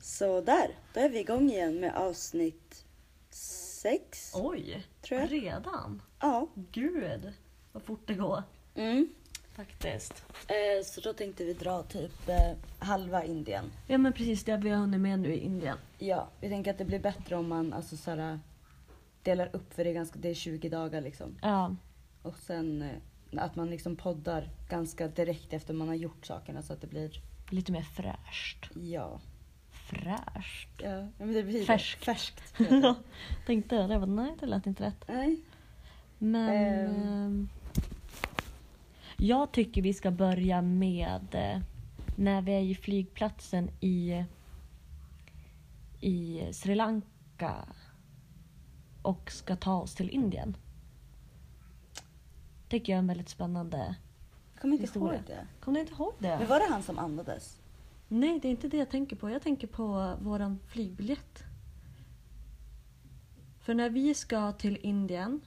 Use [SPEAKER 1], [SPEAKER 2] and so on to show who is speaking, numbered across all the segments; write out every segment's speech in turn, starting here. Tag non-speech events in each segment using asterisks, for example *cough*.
[SPEAKER 1] Så där, då är vi igång igen med avsnitt sex,
[SPEAKER 2] Oj,
[SPEAKER 1] tror jag.
[SPEAKER 2] redan?
[SPEAKER 1] Ja.
[SPEAKER 2] Gud, vad fort det går.
[SPEAKER 1] Mm.
[SPEAKER 2] Faktiskt.
[SPEAKER 1] Eh, så då tänkte vi dra typ eh, halva Indien.
[SPEAKER 2] Ja men precis, det vi har hunnit med nu i Indien.
[SPEAKER 1] Ja, vi tänker att det blir bättre om man alltså, så här, delar upp för det är, ganska, det är 20 dagar liksom.
[SPEAKER 2] Ja.
[SPEAKER 1] Och sen eh, att man liksom poddar ganska direkt efter man har gjort sakerna så att det blir,
[SPEAKER 2] Lite mer fräscht.
[SPEAKER 1] ja.
[SPEAKER 2] *laughs* Fräscht?
[SPEAKER 1] Ja, ja, men det blir
[SPEAKER 2] Färskt.
[SPEAKER 1] Det.
[SPEAKER 2] *laughs*
[SPEAKER 1] Färskt. heter det.
[SPEAKER 2] Tänkte jag det, men nej det lät inte rätt.
[SPEAKER 1] Nej.
[SPEAKER 2] Men...
[SPEAKER 1] Ehm.
[SPEAKER 2] ehm, Jag tycker vi ska börja med eh, när vi är i flygplatsen i, i Sri Lanka och ska ta oss till Indien. Tycker jag är en väldigt spännande...
[SPEAKER 1] Jag kommer inte
[SPEAKER 2] Historia.
[SPEAKER 1] ihåg det.
[SPEAKER 2] Kommer du inte ihåg det?
[SPEAKER 1] Men var det han som andades?
[SPEAKER 2] Nej, det är inte det jag tänker på. Jag tänker på våran flygbiljett. För när vi ska till Indien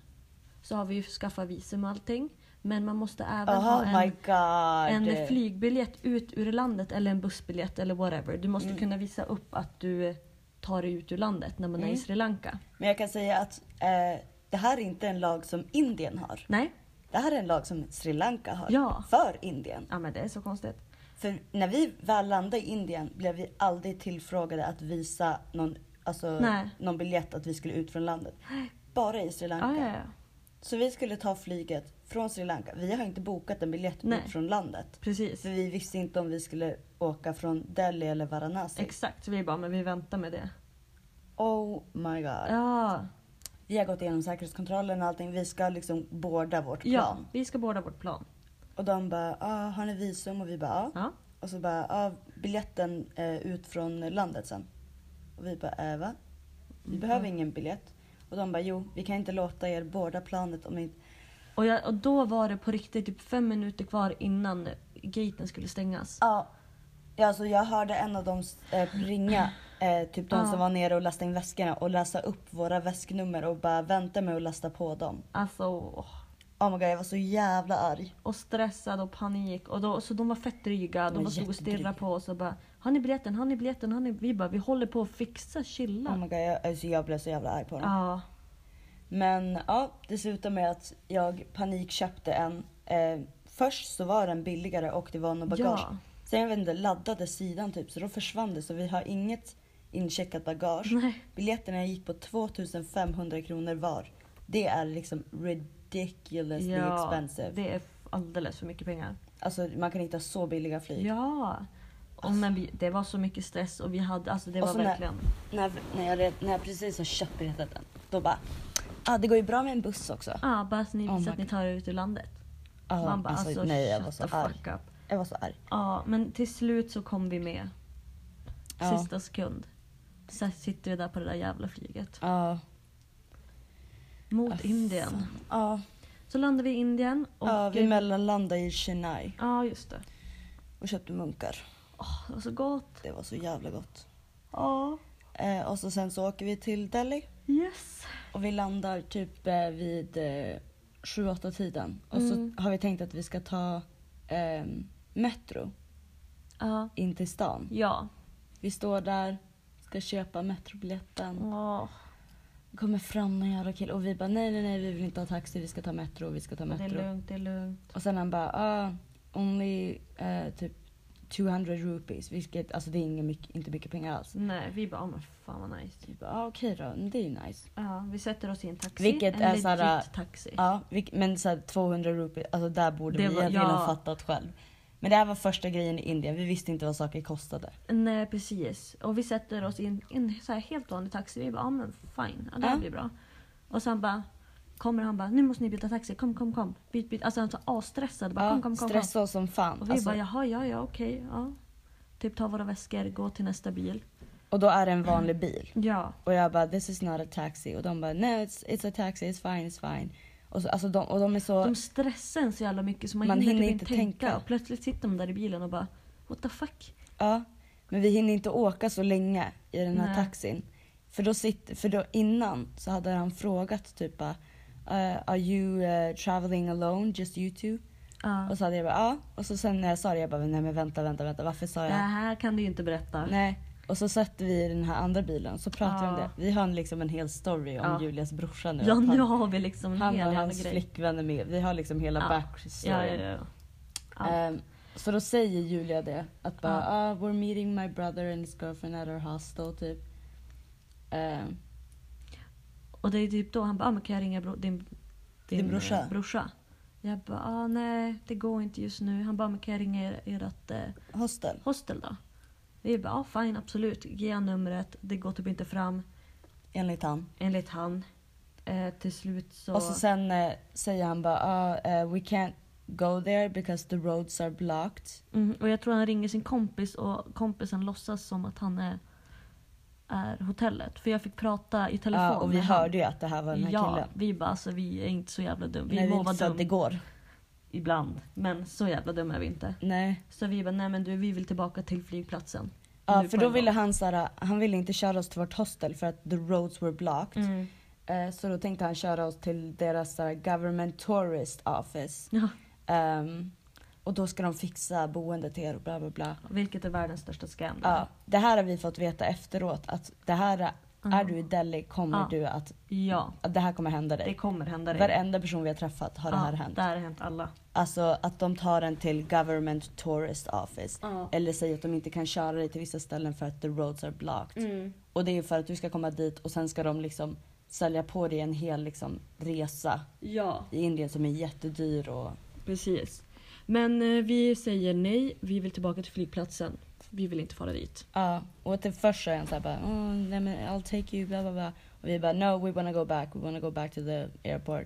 [SPEAKER 2] så har vi ju skaffat visum och allting. Men man måste även
[SPEAKER 1] Oh
[SPEAKER 2] ha
[SPEAKER 1] my
[SPEAKER 2] en,
[SPEAKER 1] god.
[SPEAKER 2] en flygbiljett ut ur landet eller en bussbiljett eller whatever. Du måste
[SPEAKER 1] Mm.
[SPEAKER 2] kunna visa upp att du tar dig ut ur landet när man är i
[SPEAKER 1] Mm.
[SPEAKER 2] Sri Lanka.
[SPEAKER 1] Men jag kan säga att eh, det här är inte en lag som Indien har.
[SPEAKER 2] Nej?
[SPEAKER 1] Det här är en lag som Sri Lanka har.
[SPEAKER 2] Ja.
[SPEAKER 1] För Indien.
[SPEAKER 2] Ja men det är så konstigt.
[SPEAKER 1] För när vi väl landade i Indien blev vi aldrig tillfrågade att visa någon, alltså,
[SPEAKER 2] Nej.
[SPEAKER 1] någon biljett att vi skulle ut från landet. Bara i Sri Lanka.
[SPEAKER 2] Ah, ja, ja.
[SPEAKER 1] Så vi skulle ta flyget från Sri Lanka. Vi har inte bokat en biljett
[SPEAKER 2] Nej.
[SPEAKER 1] ut från landet.
[SPEAKER 2] Precis.
[SPEAKER 1] För vi visste inte om vi skulle åka från Delhi eller Varanasi.
[SPEAKER 2] Exakt, så vi bara men vi väntar med det.
[SPEAKER 1] oh my god.
[SPEAKER 2] Ja,
[SPEAKER 1] Vi har gått igenom säkerhetskontrollen och allting. Vi ska liksom boarda vårt
[SPEAKER 2] ja
[SPEAKER 1] plan.
[SPEAKER 2] vi ska båda vårt plan.
[SPEAKER 1] Och de bara, ah, har ni visum? Och vi bara, ja.
[SPEAKER 2] Ja.
[SPEAKER 1] Och så bara, ah, biljetten eh, ut från landet sen. Och vi bara, äh, va? Vi behöver ingen biljett. Och de bara, jo, vi kan inte låta er boarda planet om ni inte...
[SPEAKER 2] Och, jag, och då var det på riktigt typ fem minuter kvar innan gaten skulle stängas.
[SPEAKER 1] Ja. Ja, alltså jag hörde en av dem eh, ringa, eh, typ de
[SPEAKER 2] Ja.
[SPEAKER 1] som var nere och lastade in väskorna och läsa upp våra väsknummer och bara vänta med att lasta på dem.
[SPEAKER 2] Alltså, åh.
[SPEAKER 1] Oh my god, jag var så jävla arg.
[SPEAKER 2] och stressad och panik. Och då, så de var fett dryga.
[SPEAKER 1] var
[SPEAKER 2] De var stod och stirrade
[SPEAKER 1] jättedryga.
[SPEAKER 2] på oss och bara Har ni biljetten? Har ni biljetten? Har ni... Vi bara, vi håller på att fixa, chilla.
[SPEAKER 1] Oh my god, jag, alltså jag blev så jävla arg på dem.
[SPEAKER 2] ja.
[SPEAKER 1] Men ja, det slutade med att jag panikköpte en. Eh, först så var den billigare och det var nog bagage.
[SPEAKER 2] ja.
[SPEAKER 1] Sen jag vet inte, laddade sidan typ så då försvann det så vi har inget incheckat bagage.
[SPEAKER 2] Nej.
[SPEAKER 1] Biljetterna gick på 2500 kronor var. Det är liksom ridiculously expensive.
[SPEAKER 2] det är f- alldeles för mycket pengar.
[SPEAKER 1] Alltså man kan hitta så billiga flyg.
[SPEAKER 2] Ja. Och, men vi, det var så mycket stress och vi hade, alltså det
[SPEAKER 1] Alltså. Och
[SPEAKER 2] var
[SPEAKER 1] så när-
[SPEAKER 2] verkligen.
[SPEAKER 1] När, när, jag, red- när jag precis har köpt biljetten då bara, ah, det går ju bra med en buss också.
[SPEAKER 2] Ja, ah, bara att ni
[SPEAKER 1] Oh my
[SPEAKER 2] visar att ni tar er ut ur landet.
[SPEAKER 1] Ja,
[SPEAKER 2] Man bara alltså,
[SPEAKER 1] nej jag var
[SPEAKER 2] shut
[SPEAKER 1] så
[SPEAKER 2] the
[SPEAKER 1] arg.
[SPEAKER 2] fuck up.
[SPEAKER 1] Jag var så arg.
[SPEAKER 2] Ja, men till slut så kom vi med.
[SPEAKER 1] Ja.
[SPEAKER 2] Sista sekund. Så sitter vi där på det där jävla flyget.
[SPEAKER 1] Ja.
[SPEAKER 2] Mot
[SPEAKER 1] Ah, fan.
[SPEAKER 2] Indien.
[SPEAKER 1] Ja.
[SPEAKER 2] Så landade vi i Indien. Och,
[SPEAKER 1] ja, vi mellanlandade i Chennai
[SPEAKER 2] Ja, just det.
[SPEAKER 1] och köpte munkar.
[SPEAKER 2] Åh, det var så gott.
[SPEAKER 1] Det var så jävla gott.
[SPEAKER 2] Ja.
[SPEAKER 1] Eh, och så sen så åker vi till Delhi
[SPEAKER 2] Yes.
[SPEAKER 1] och vi landar typ eh, vid eh, 7-8 tiden. Och
[SPEAKER 2] Mm.
[SPEAKER 1] så har vi tänkt att vi ska ta ehm, Metro
[SPEAKER 2] Ja.
[SPEAKER 1] in till stan.
[SPEAKER 2] Ja.
[SPEAKER 1] Vi står där, ska köpa Metrobiljetten.
[SPEAKER 2] Åh,
[SPEAKER 1] Kommer fram någon jävla kille och vi bara nej nej nej vi vill inte ha taxi, vi ska ta Metro, vi ska ta
[SPEAKER 2] det är
[SPEAKER 1] Metro.
[SPEAKER 2] lugnt, det är lugnt.
[SPEAKER 1] Och sen han bara, ah, only eh, typ 200 rupees. Vilket, alltså det är inget mycket, inte mycket pengar alls.
[SPEAKER 2] Nej, vi bara, oh, men fan vad nice.
[SPEAKER 1] Vi bara, ah, okej då, men det är ju nice.
[SPEAKER 2] Ja, vi sätter oss i en taxi.
[SPEAKER 1] Vilket
[SPEAKER 2] en
[SPEAKER 1] är såhär-
[SPEAKER 2] legit taxi.
[SPEAKER 1] Ja, vilk- men så här, 200 rupees, alltså där borde
[SPEAKER 2] Det
[SPEAKER 1] vi
[SPEAKER 2] var-
[SPEAKER 1] ha redan
[SPEAKER 2] ja.
[SPEAKER 1] fattat själv. Men det här var första grejen i Indien, vi visste inte vad saker kostade.
[SPEAKER 2] Nej, precis. Och vi sätter oss i en, en så här helt vanlig taxi. Vi bara, ja men fine, ja, det här
[SPEAKER 1] Ja.
[SPEAKER 2] blir bra. Och sen bara, kommer han bara, nu måste ni byta taxi, kom, kom, kom. Byt, byt. Alltså han var så asstressad. Bara,
[SPEAKER 1] Ja,
[SPEAKER 2] kom, kom, kom, kom.
[SPEAKER 1] stressade oss som fan.
[SPEAKER 2] Och
[SPEAKER 1] Och,
[SPEAKER 2] vi
[SPEAKER 1] alltså,
[SPEAKER 2] bara, jaha, ja, ja, okej, ja. Typ ta våra väskor, gå till nästa bil.
[SPEAKER 1] och då är det en vanlig bil.
[SPEAKER 2] Ja.
[SPEAKER 1] Och jag bara, this is not a taxi. Och de bara, no it's, it's a taxi, it's fine, it's fine. Och, så, alltså, de, och de är så...
[SPEAKER 2] De stressar en så jävla mycket så man,
[SPEAKER 1] Man
[SPEAKER 2] hinner,
[SPEAKER 1] hinner
[SPEAKER 2] typ
[SPEAKER 1] inte tänka.
[SPEAKER 2] Och plötsligt sitter de där i bilen och bara, what the fuck?
[SPEAKER 1] Ja, men vi hinner inte åka så länge i den här
[SPEAKER 2] Nej.
[SPEAKER 1] taxin. För då, sitter, för då innan så hade han frågat typ bara "Eh, Are you eh, traveling alone, just you two?
[SPEAKER 2] Ja.
[SPEAKER 1] Och så hade jag bara ja. Och så sen när jag sa det jag bara nej men vänta, vänta, vänta varför sa
[SPEAKER 2] Det
[SPEAKER 1] jag?
[SPEAKER 2] här kan du ju inte berätta.
[SPEAKER 1] Nej. Och så satt vi i den här andra bilen så pratade vi om
[SPEAKER 2] Ja.
[SPEAKER 1] det. Vi har en- liksom en hel story om
[SPEAKER 2] Ja.
[SPEAKER 1] Julias brorsa nu.
[SPEAKER 2] Ja
[SPEAKER 1] Att
[SPEAKER 2] nu
[SPEAKER 1] han
[SPEAKER 2] har vi liksom en
[SPEAKER 1] han
[SPEAKER 2] hel
[SPEAKER 1] och
[SPEAKER 2] jävla
[SPEAKER 1] hans
[SPEAKER 2] grej.
[SPEAKER 1] flickvän är med. Vi har liksom hela
[SPEAKER 2] Ja.
[SPEAKER 1] backstoryn.
[SPEAKER 2] Ja, ja, ja, ja. ja.
[SPEAKER 1] Ehm, så då säger Julia det. Att bara
[SPEAKER 2] Ja.
[SPEAKER 1] ah, “We're meeting my brother and his girlfriend at our hostel” typ. Ehm,
[SPEAKER 2] Och det är typ då han bara, ah, men kan jag ringa bro- din, din,
[SPEAKER 1] Din brorsa?
[SPEAKER 2] eh, brorsa? Jag bara, ah, nej det går inte just nu. Han bara, men kan jag ringa er, ert eh,
[SPEAKER 1] hostel.
[SPEAKER 2] hostel då? Vi bara, ah, fine absolut. Ge han numret. Det går typ inte fram
[SPEAKER 1] Enligt han.
[SPEAKER 2] enligt han. Eh, till slut så...
[SPEAKER 1] Och så sen eh, säger han bara ah, eh, “We can't go there because the roads are blocked”.
[SPEAKER 2] Mm, och jag tror han ringer sin kompis och kompisen låtsas som att han är, är hotellet. För jag fick prata i telefon
[SPEAKER 1] Ja, och vi
[SPEAKER 2] med han.
[SPEAKER 1] hörde ju att det här var den här
[SPEAKER 2] ja,
[SPEAKER 1] killen.
[SPEAKER 2] vi bara alltså vi är inte så jävla dum. Vi
[SPEAKER 1] Nej,
[SPEAKER 2] må
[SPEAKER 1] vi
[SPEAKER 2] vara
[SPEAKER 1] visste att det
[SPEAKER 2] dum
[SPEAKER 1] går.
[SPEAKER 2] ibland. Men så jävla dum är vi inte.
[SPEAKER 1] Nej.
[SPEAKER 2] Så vi bara, nej men du vi vill tillbaka till flygplatsen.
[SPEAKER 1] Ja,
[SPEAKER 2] Nu
[SPEAKER 1] för
[SPEAKER 2] på
[SPEAKER 1] då
[SPEAKER 2] en
[SPEAKER 1] ville
[SPEAKER 2] gång.
[SPEAKER 1] han såhär, han ville inte köra oss till vårt hostel för att the roads were
[SPEAKER 2] Mm.
[SPEAKER 1] blocked. Eh, så då tänkte han köra oss till deras såhär, government tourist office.
[SPEAKER 2] Ja,
[SPEAKER 1] Ehm, och då ska de fixa boende till er och bla bla
[SPEAKER 2] Mm.
[SPEAKER 1] bla.
[SPEAKER 2] vilket är världens största scam.
[SPEAKER 1] Ja, det här har vi fått veta efteråt att det här, är
[SPEAKER 2] Mm.
[SPEAKER 1] du i Delhi kommer
[SPEAKER 2] Ja.
[SPEAKER 1] du att,
[SPEAKER 2] Ja,
[SPEAKER 1] att, det här kommer hända
[SPEAKER 2] det
[SPEAKER 1] dig.
[SPEAKER 2] kommer hända dig.
[SPEAKER 1] Varenda person vi har träffat har det här hänt.
[SPEAKER 2] Det här har hänt alla.
[SPEAKER 1] Alltså att de tar en till government tourist office. Eller säger att de inte kan köra dig till vissa ställen för att the roads are blocked.
[SPEAKER 2] Mm.
[SPEAKER 1] Och det är ju för att du ska komma dit och sen ska de liksom sälja på dig en hel liksom, resa
[SPEAKER 2] Ja,
[SPEAKER 1] i Indien som är jättedyr och
[SPEAKER 2] precis. Men eh, vi säger nej, vi vill tillbaka till flygplatsen. Vi vill inte fara dit.
[SPEAKER 1] Ja, och till först så är han såhär bara oh, nej men I'll take you bla bla bla. Och vi bara no we wanna go back, we wanna go back to the airport.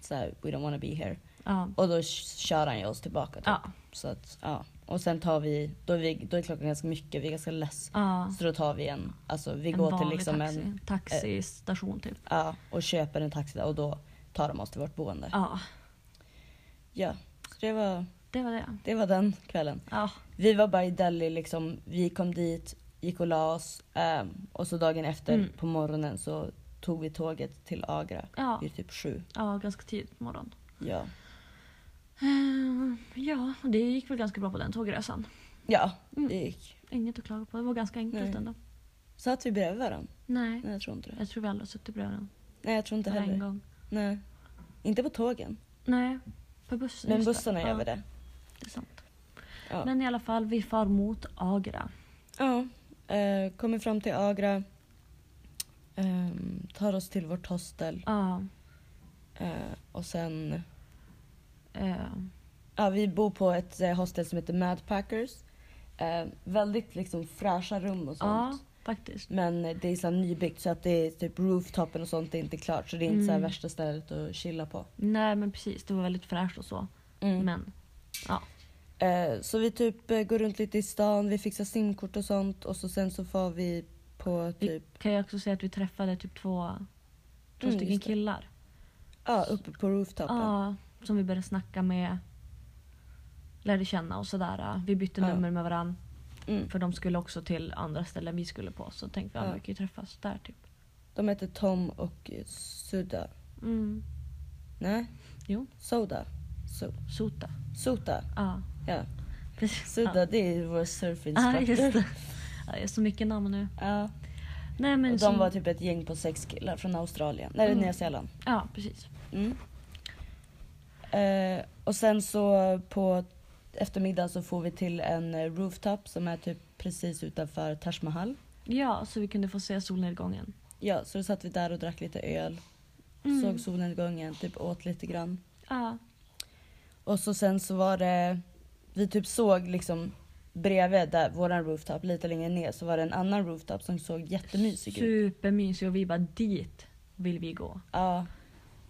[SPEAKER 1] Så här, we don't wanna be here.
[SPEAKER 2] Mm. Ja.
[SPEAKER 1] Och då k- kör han ju oss tillbaka typ.
[SPEAKER 2] Ja.
[SPEAKER 1] Så att, ja. Och sen tar vi, då är, vi, då är klockan ganska mycket, vi är ganska less.
[SPEAKER 2] Ja.
[SPEAKER 1] Så då tar vi en, alltså vi
[SPEAKER 2] En
[SPEAKER 1] går till
[SPEAKER 2] vanlig
[SPEAKER 1] liksom
[SPEAKER 2] taxi.
[SPEAKER 1] en,
[SPEAKER 2] taxistation typ.
[SPEAKER 1] ja, och köper en taxi där och då tar de oss till vårt boende.
[SPEAKER 2] Ja,
[SPEAKER 1] Ja, så det var,
[SPEAKER 2] det var det.
[SPEAKER 1] det var den kvällen.
[SPEAKER 2] Ja.
[SPEAKER 1] Vi var bara i Delhi liksom, vi kom dit, gick och la oss ehm, och så dagen efter
[SPEAKER 2] Mm.
[SPEAKER 1] på morgonen så tog vi tåget till Agra
[SPEAKER 2] Ja.
[SPEAKER 1] vid typ sju.
[SPEAKER 2] ja, ganska tidigt på morgonen.
[SPEAKER 1] Ja.
[SPEAKER 2] Eh, Ja, det gick väl ganska bra på den tågresan.
[SPEAKER 1] Ja,
[SPEAKER 2] Mm.
[SPEAKER 1] det gick.
[SPEAKER 2] Inget att klaga på, det var ganska enkelt
[SPEAKER 1] Nej.
[SPEAKER 2] ändå.
[SPEAKER 1] Satt vi bredvid varandra?
[SPEAKER 2] Nej,
[SPEAKER 1] Nej jag tror inte det.
[SPEAKER 2] jag tror vi aldrig har suttit bredvid varandra.
[SPEAKER 1] Nej jag tror inte
[SPEAKER 2] Bara en
[SPEAKER 1] heller.
[SPEAKER 2] gång.
[SPEAKER 1] Nej. Inte på tågen.
[SPEAKER 2] Nej, på bussen.
[SPEAKER 1] Men
[SPEAKER 2] just det.
[SPEAKER 1] bussarna gör
[SPEAKER 2] ja,
[SPEAKER 1] vi det.
[SPEAKER 2] det. är sant.
[SPEAKER 1] Ja.
[SPEAKER 2] Men i alla fall, vi far mot Agra.
[SPEAKER 1] Ja. eh, kommer fram till Agra. ehm, tar oss till vårt hostel.
[SPEAKER 2] Ja,
[SPEAKER 1] eh, och sen...
[SPEAKER 2] eh,
[SPEAKER 1] Ja, vi bor på ett eh, hostel som heter Madpackers. Eh, väldigt liksom fräscha rum och sånt.
[SPEAKER 2] ja faktiskt.
[SPEAKER 1] Men eh, det är så här nybyggt så att det är typ rooftopen och sånt är inte klart. Så det är inte så här
[SPEAKER 2] Mm.
[SPEAKER 1] värsta stället att chilla på.
[SPEAKER 2] Nej men precis, det var väldigt fräscht och så.
[SPEAKER 1] Mm.
[SPEAKER 2] Men ja,
[SPEAKER 1] Eh, så vi typ eh, går runt lite i stan, vi fixar simkort och sånt och så sen så får vi på
[SPEAKER 2] vi
[SPEAKER 1] typ,
[SPEAKER 2] kan ju också säga att vi träffade typ två, två
[SPEAKER 1] Mm,
[SPEAKER 2] stycken
[SPEAKER 1] just det.
[SPEAKER 2] killar.
[SPEAKER 1] ja uppe på rooftopen.
[SPEAKER 2] Ja, som vi började snacka med. Lärde känna och sådär. Vi bytte
[SPEAKER 1] Ja.
[SPEAKER 2] nummer med varandra.
[SPEAKER 1] Mm.
[SPEAKER 2] För de skulle också till andra ställen vi skulle på. Så tänkte vi att
[SPEAKER 1] Ja.
[SPEAKER 2] vi kan ju träffas där typ.
[SPEAKER 1] De heter Tom och eh, Sudda.
[SPEAKER 2] Mm.
[SPEAKER 1] Nej?
[SPEAKER 2] Jo.
[SPEAKER 1] Soda. So
[SPEAKER 2] Sota.
[SPEAKER 1] Sota.
[SPEAKER 2] Ja,
[SPEAKER 1] Ja.
[SPEAKER 2] precis.
[SPEAKER 1] Sudda
[SPEAKER 2] Ja.
[SPEAKER 1] det är vår
[SPEAKER 2] Ja,
[SPEAKER 1] surfinstructor.
[SPEAKER 2] just det. Ja, det är så mycket namn nu.
[SPEAKER 1] Ja.
[SPEAKER 2] Nej, men
[SPEAKER 1] Och
[SPEAKER 2] som-
[SPEAKER 1] de var typ ett gäng på sex killar från Australien. Nej,
[SPEAKER 2] Mm.
[SPEAKER 1] Nya Zeeland.
[SPEAKER 2] Ja, precis.
[SPEAKER 1] Mm. Eh, och sen så på eftermiddagen så får vi till en eh, rooftop som är typ precis utanför Taj Mahal.
[SPEAKER 2] Ja, så vi kunde få se solnedgången.
[SPEAKER 1] Ja, så då satt vi där och drack lite öl.
[SPEAKER 2] Mm.
[SPEAKER 1] Såg solnedgången, typ åt lite grann.
[SPEAKER 2] Ja.
[SPEAKER 1] Och så sen så var det, vi typ såg liksom bredvid där, våran rooftop, lite längre ner så var det en annan rooftop som såg jättemysig ut.
[SPEAKER 2] Supermysig och vi bara dit vill vi gå.
[SPEAKER 1] Ja.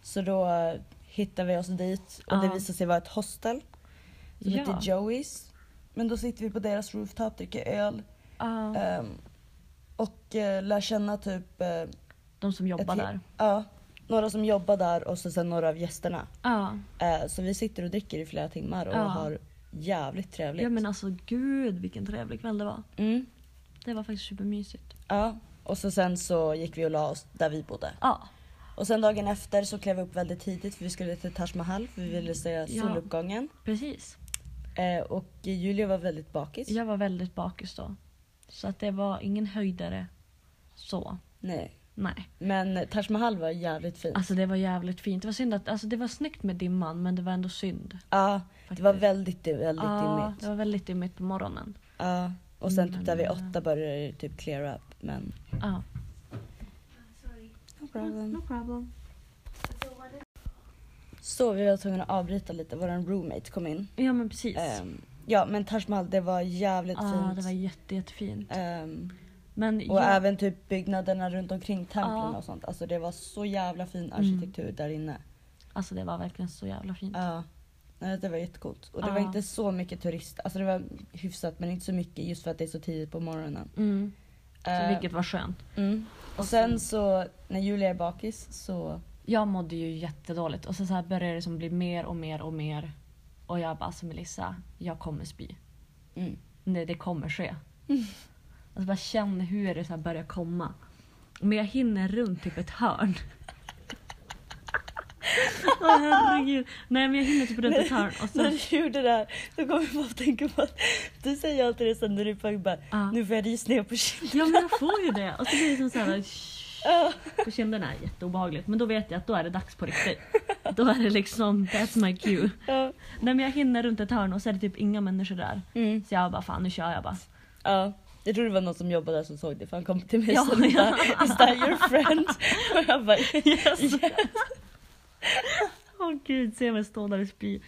[SPEAKER 1] Så då eh, hittade vi oss dit och det
[SPEAKER 2] Ja.
[SPEAKER 1] visade sig vara ett hostel som
[SPEAKER 2] Ja.
[SPEAKER 1] heter Joey's. Men då sitter vi på deras rooftop, dricker öl
[SPEAKER 2] Ja,
[SPEAKER 1] ehm, och eh, lär känna typ eh,
[SPEAKER 2] de som jobbar
[SPEAKER 1] ett he-
[SPEAKER 2] där.
[SPEAKER 1] Ja, några som jobbar där och så sen några av gästerna.
[SPEAKER 2] Ja.
[SPEAKER 1] Eh, Så vi sitter och dricker i flera timmar och
[SPEAKER 2] Ja.
[SPEAKER 1] har jävligt trevligt.
[SPEAKER 2] ja, men alltså gud vilken trevlig kväll det var.
[SPEAKER 1] mm.
[SPEAKER 2] Det var faktiskt supermysigt.
[SPEAKER 1] ja. Och så sen så gick vi och la oss där vi bodde.
[SPEAKER 2] Ja,
[SPEAKER 1] Och sen dagen efter så klev vi upp väldigt tidigt för vi skulle till Taj Mahal för vi ville se soluppgången.
[SPEAKER 2] precis.
[SPEAKER 1] Eh, och Julia var väldigt bakis.
[SPEAKER 2] Jag var väldigt bakis då. Så att det var ingen höjdare så.
[SPEAKER 1] Nej.
[SPEAKER 2] Nej.
[SPEAKER 1] Men Taj Mahal var jävligt fint.
[SPEAKER 2] Alltså det var jävligt fint. Det var synd att, alltså det var snyggt med dimman men det var ändå synd.
[SPEAKER 1] Ja, det var
[SPEAKER 2] faktiskt.
[SPEAKER 1] väldigt, väldigt
[SPEAKER 2] Ja,
[SPEAKER 1] dimmigt.
[SPEAKER 2] det var väldigt dimmigt på morgonen.
[SPEAKER 1] Ja. Och sen typ där vid
[SPEAKER 2] Men-
[SPEAKER 1] åtta började det typ clear up. Men
[SPEAKER 2] Ja.
[SPEAKER 1] no problem.
[SPEAKER 2] No problem.
[SPEAKER 1] Så vi var tvungna att avbryta lite, våran roommate kom in.
[SPEAKER 2] Ja men precis.
[SPEAKER 1] Ehm, ja men Taj Mahal det var jävligt
[SPEAKER 2] Ja, Ah, det
[SPEAKER 1] fint.
[SPEAKER 2] var jätte, jättefint.
[SPEAKER 1] Ehm,
[SPEAKER 2] Men
[SPEAKER 1] och
[SPEAKER 2] jag-
[SPEAKER 1] även typ byggnaderna runt omkring templen
[SPEAKER 2] Ja. Mm.
[SPEAKER 1] och sånt. Alltså det var så jävla fin arkitektur där inne.
[SPEAKER 2] Alltså det var verkligen så jävla fint.
[SPEAKER 1] Ja. Nej, det var jättecoolt. Och det var
[SPEAKER 2] Ja.
[SPEAKER 1] inte så mycket turister, alltså det var hyfsat men inte så mycket just för att det är så tidigt på morgonen.
[SPEAKER 2] Mm. Så,
[SPEAKER 1] Ehm,
[SPEAKER 2] vilket var skönt.
[SPEAKER 1] mm. Och sen så när Julia är bakis så,
[SPEAKER 2] Jag mådde ju jättedåligt och så, så här började det som bli mer och mer och mer. Och jag bara alltså Melissa, jag kommer spy.
[SPEAKER 1] mm.
[SPEAKER 2] Nej, det kommer ske. Alltså bara känn hur det så här börjar komma. Men jag hinner runt typ ett hörn. Åh herregud. Nej men jag hinner typ runt ett hörn och så...
[SPEAKER 1] När du *laughs* gjorde det här så kom jag bara att tänka på att du säger alltid det sen när du är på bara
[SPEAKER 2] Ja.
[SPEAKER 1] nu får jag rysningar på kinden.
[SPEAKER 2] Ja men jag får ju det. Och så blir det som så här... "Shh", På kinderna, jätteobehagligt. Men då vet jag att då är det dags på riktigt. Då är det liksom, that's my cue.
[SPEAKER 1] Ja.
[SPEAKER 2] Nej men jag hinner runt ett hörn och så är det typ inga människor där.
[SPEAKER 1] Mm.
[SPEAKER 2] Så jag bara fan nu kör jag bara.
[SPEAKER 1] ja. Jag tror det var någon som jobbade där som såg det för han kom till mig
[SPEAKER 2] Ja,
[SPEAKER 1] och sa
[SPEAKER 2] ja.
[SPEAKER 1] Is that your friend? *laughs* Och jag bara yes.
[SPEAKER 2] Åh gud, se mig stå där och spy.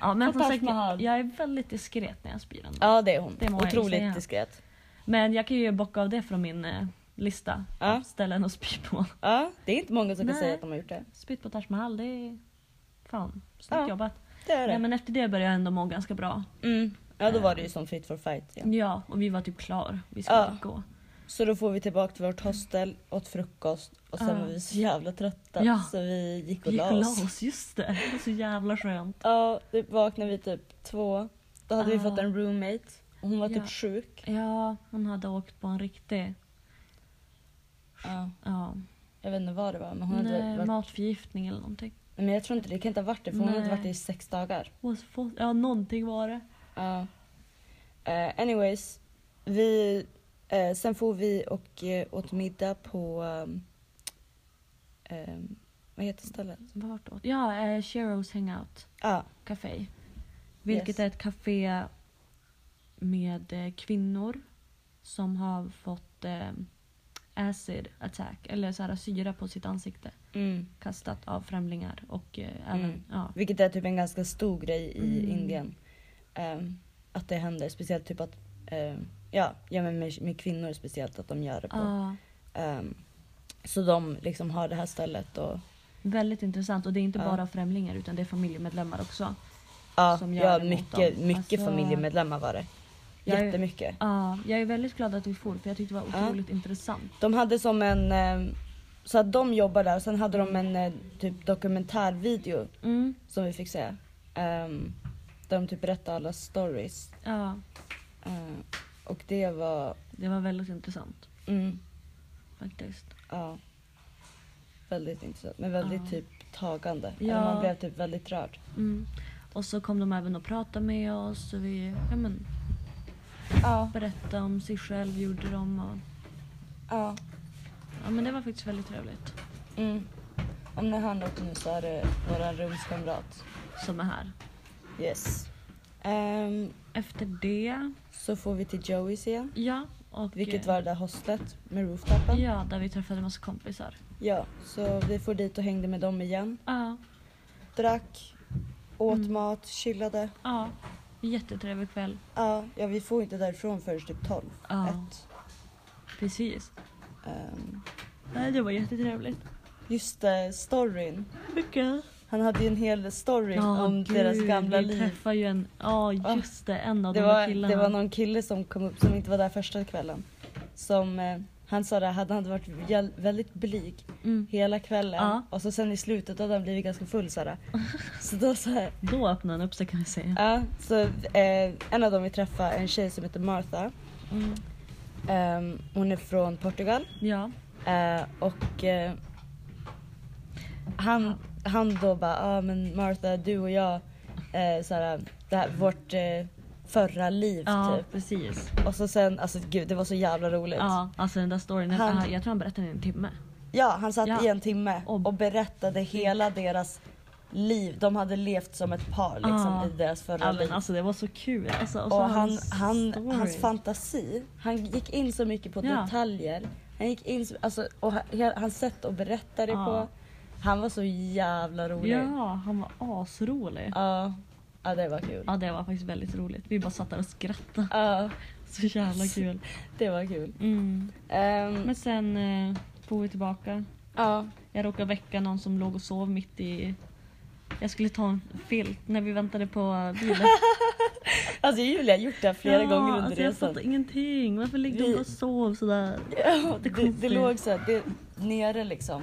[SPEAKER 2] Ja men
[SPEAKER 1] Och
[SPEAKER 2] som
[SPEAKER 1] Taj
[SPEAKER 2] sagt
[SPEAKER 1] Mahal.
[SPEAKER 2] jag är väldigt diskret när jag spyr ändå.
[SPEAKER 1] Ja det är hon.
[SPEAKER 2] Det må jag ju säga.
[SPEAKER 1] Otroligt diskret.
[SPEAKER 2] Men jag kan ju bocka av det från min eh, lista.
[SPEAKER 1] Ja.
[SPEAKER 2] Ställen att spy på.
[SPEAKER 1] Ja, det är inte många som
[SPEAKER 2] Nej.
[SPEAKER 1] kan säga att de har gjort det.
[SPEAKER 2] Spytt på Taj Mahal, det är fan snyggt
[SPEAKER 1] Ja,
[SPEAKER 2] jobbat.
[SPEAKER 1] Det är det.
[SPEAKER 2] Nej, men efter det började jag ändå må ganska bra.
[SPEAKER 1] mm. Ja då var det ju som Fit for fight. Ja.
[SPEAKER 2] Ja, och vi var typ klar. Vi skulle
[SPEAKER 1] Ja.
[SPEAKER 2] typ gå.
[SPEAKER 1] Så då får vi tillbaka till vårt hostel, åt frukost och sen
[SPEAKER 2] Ja.
[SPEAKER 1] var vi så jävla trötta
[SPEAKER 2] Ja.
[SPEAKER 1] så vi gick
[SPEAKER 2] Vi
[SPEAKER 1] och
[SPEAKER 2] gick
[SPEAKER 1] la
[SPEAKER 2] och la
[SPEAKER 1] oss.
[SPEAKER 2] oss, just det. Det var så jävla skönt.
[SPEAKER 1] Ja, då vaknade vi typ två. Då hade vi
[SPEAKER 2] Ah.
[SPEAKER 1] fått en roommate. Och Hon var
[SPEAKER 2] Ja.
[SPEAKER 1] typ sjuk.
[SPEAKER 2] Ja, hon hade åkt på en riktig...
[SPEAKER 1] Ja.
[SPEAKER 2] Ja,
[SPEAKER 1] Jag vet inte vad det var men hon hade
[SPEAKER 2] nej,
[SPEAKER 1] varit...
[SPEAKER 2] matförgiftning eller någonting.
[SPEAKER 1] Nej, men jag tror inte det kan inte ha varit det för hon hade
[SPEAKER 2] Nej.
[SPEAKER 1] varit det i sex dagar.
[SPEAKER 2] Was fo- Ja, någonting var det.
[SPEAKER 1] Ja. Eh, anyways, vi... eh, sen får vi och eh, åt middag på... ehm, ehm, vad heter stället?
[SPEAKER 2] Vart åt? Ja, eh, Sheros Hangout
[SPEAKER 1] Ja,
[SPEAKER 2] Café. Vilket
[SPEAKER 1] Yes.
[SPEAKER 2] är ett café med eh, kvinnor som har fått eh, acid attack, eller så här, syra på sitt ansikte
[SPEAKER 1] mm.
[SPEAKER 2] kastat av främlingar och eh, även,
[SPEAKER 1] Mm.
[SPEAKER 2] ja.
[SPEAKER 1] Vilket är typ en ganska stor grej i
[SPEAKER 2] Mm.
[SPEAKER 1] Indien. Ehm, att det händer, speciellt typ att... ehm, ja, ja men med, med kvinnor speciellt att de gör det på.
[SPEAKER 2] Ja,
[SPEAKER 1] Ehm, så de liksom har det här stället och
[SPEAKER 2] väldigt intressant och det är inte
[SPEAKER 1] Ja.
[SPEAKER 2] bara främlingar utan det är familjemedlemmar också.
[SPEAKER 1] ja,
[SPEAKER 2] Som gör
[SPEAKER 1] ja
[SPEAKER 2] det mot
[SPEAKER 1] mycket,
[SPEAKER 2] dem.
[SPEAKER 1] mycket
[SPEAKER 2] Alltså-
[SPEAKER 1] familjemedlemmar var det.
[SPEAKER 2] Jag är-
[SPEAKER 1] Jättemycket.
[SPEAKER 2] Ja, jag är väldigt glad att vi for för jag tyckte det var
[SPEAKER 1] Ja.
[SPEAKER 2] otroligt intressant.
[SPEAKER 1] De hade som en, ehm, så att de jobbar där och sen hade de en eh, typ dokumentärvideo
[SPEAKER 2] Mm,
[SPEAKER 1] som vi fick se. Ehm, där de typ berättade alla stories.
[SPEAKER 2] ja,
[SPEAKER 1] Ehm, och det var,
[SPEAKER 2] det var väldigt intressant
[SPEAKER 1] mm,
[SPEAKER 2] faktiskt.
[SPEAKER 1] ja. Väldigt intressant men väldigt
[SPEAKER 2] Ja.
[SPEAKER 1] typ tagande.
[SPEAKER 2] Ja.
[SPEAKER 1] Eller man blev typ väldigt rörd.
[SPEAKER 2] Mm. Och så kom de även och pratade med oss och vi ja, men,
[SPEAKER 1] Ja,
[SPEAKER 2] berättade om sig själv, gjorde de och
[SPEAKER 1] ja.
[SPEAKER 2] ja men det var faktiskt väldigt trevligt.
[SPEAKER 1] Mm. Om ni hör något nu så är det våran rumskamrat.
[SPEAKER 2] Som är här.
[SPEAKER 1] Yes. Ehm,
[SPEAKER 2] Efter det,
[SPEAKER 1] så får vi till Joeys igen.
[SPEAKER 2] ja. Och,
[SPEAKER 1] Vilket
[SPEAKER 2] eh,
[SPEAKER 1] var det där hostlet med rooftopen. Ja.
[SPEAKER 2] Ja, där vi träffade en massa kompisar.
[SPEAKER 1] så vi får dit och hängde med dem igen.
[SPEAKER 2] Ja,
[SPEAKER 1] Drack, åt
[SPEAKER 2] Mm.
[SPEAKER 1] mat, chillade.
[SPEAKER 2] ja. Jättetrevlig kväll.
[SPEAKER 1] Ja, ja, vi får inte därifrån förrän typ 12.
[SPEAKER 2] Ja.
[SPEAKER 1] Ett.
[SPEAKER 2] Precis.
[SPEAKER 1] Ehm,
[SPEAKER 2] Nej, det var jättetrevligt.
[SPEAKER 1] just det, storyn.
[SPEAKER 2] Mycket.
[SPEAKER 1] Han hade ju en hel story om deras gamla
[SPEAKER 2] vi
[SPEAKER 1] liv.
[SPEAKER 2] träffade ju en, ja
[SPEAKER 1] Ah.
[SPEAKER 2] just det, en av
[SPEAKER 1] Det
[SPEAKER 2] de här
[SPEAKER 1] var,
[SPEAKER 2] killarna.
[SPEAKER 1] det var någon kille som kom upp som inte var där första kvällen. Som, eh, han sa det, hade han varit jäl- väldigt blyg
[SPEAKER 2] mm.
[SPEAKER 1] hela kvällen
[SPEAKER 2] Ja.
[SPEAKER 1] och så sen i slutet hade han blivit ganska full såhär. *laughs* Så då såhär,
[SPEAKER 2] Då öppnade han upp sig kan jag säga.
[SPEAKER 1] ja. Så eh, en av dem vi träffade, en tjej som heter Martha.
[SPEAKER 2] Mm.
[SPEAKER 1] Ehm, hon är från Portugal.
[SPEAKER 2] Ja.
[SPEAKER 1] Eh, och eh, han, han då bara, ja ah, men Martha du och jag, eh, såhär, det här, vårt eh, förra liv
[SPEAKER 2] Ja,
[SPEAKER 1] typ.
[SPEAKER 2] precis.
[SPEAKER 1] Och så sen, alltså gud det var så jävla roligt. Ja,
[SPEAKER 2] Ja, alltså den där storyn.
[SPEAKER 1] Han-
[SPEAKER 2] ah, jag tror han berättade den i en timme.
[SPEAKER 1] han satt
[SPEAKER 2] Ja.
[SPEAKER 1] i en timme
[SPEAKER 2] Och-
[SPEAKER 1] och berättade hela deras liv. De hade levt som ett par liksom
[SPEAKER 2] Ja.
[SPEAKER 1] i deras förra
[SPEAKER 2] Ja,
[SPEAKER 1] liv.
[SPEAKER 2] men alltså det var så kul. Alltså, och så
[SPEAKER 1] Och han, han,
[SPEAKER 2] story.
[SPEAKER 1] hans fantasi, han gick in så mycket på
[SPEAKER 2] Ja.
[SPEAKER 1] detaljer. Han gick in så, alltså, och ha- he- hans sätt att berätta det
[SPEAKER 2] Ja.
[SPEAKER 1] på. Han var så jävla rolig. Ja.
[SPEAKER 2] Ja, han var asrolig.
[SPEAKER 1] Ja, det var kul.
[SPEAKER 2] Ja, det var faktiskt väldigt roligt. Vi bara satt där och skrattade. *laughs*
[SPEAKER 1] Ja,
[SPEAKER 2] Så jävla kul.
[SPEAKER 1] det var kul.
[SPEAKER 2] Mm.
[SPEAKER 1] Ehm,
[SPEAKER 2] Men sen eh, får vi tillbaka.
[SPEAKER 1] Ja,
[SPEAKER 2] Jag råkade väcka någon som låg och sov mitt i... Jag skulle ta en filt när vi väntade på *laughs* bilen.
[SPEAKER 1] alltså Julia har gjort det här flera
[SPEAKER 2] Ja,
[SPEAKER 1] gånger under
[SPEAKER 2] alltså, Jag
[SPEAKER 1] resan.
[SPEAKER 2] fattar ingenting. Varför ligger
[SPEAKER 1] Vi-
[SPEAKER 2] hon och sov sådär?
[SPEAKER 1] Ja, det, det,
[SPEAKER 2] konstigt.
[SPEAKER 1] låg så här, det, nere liksom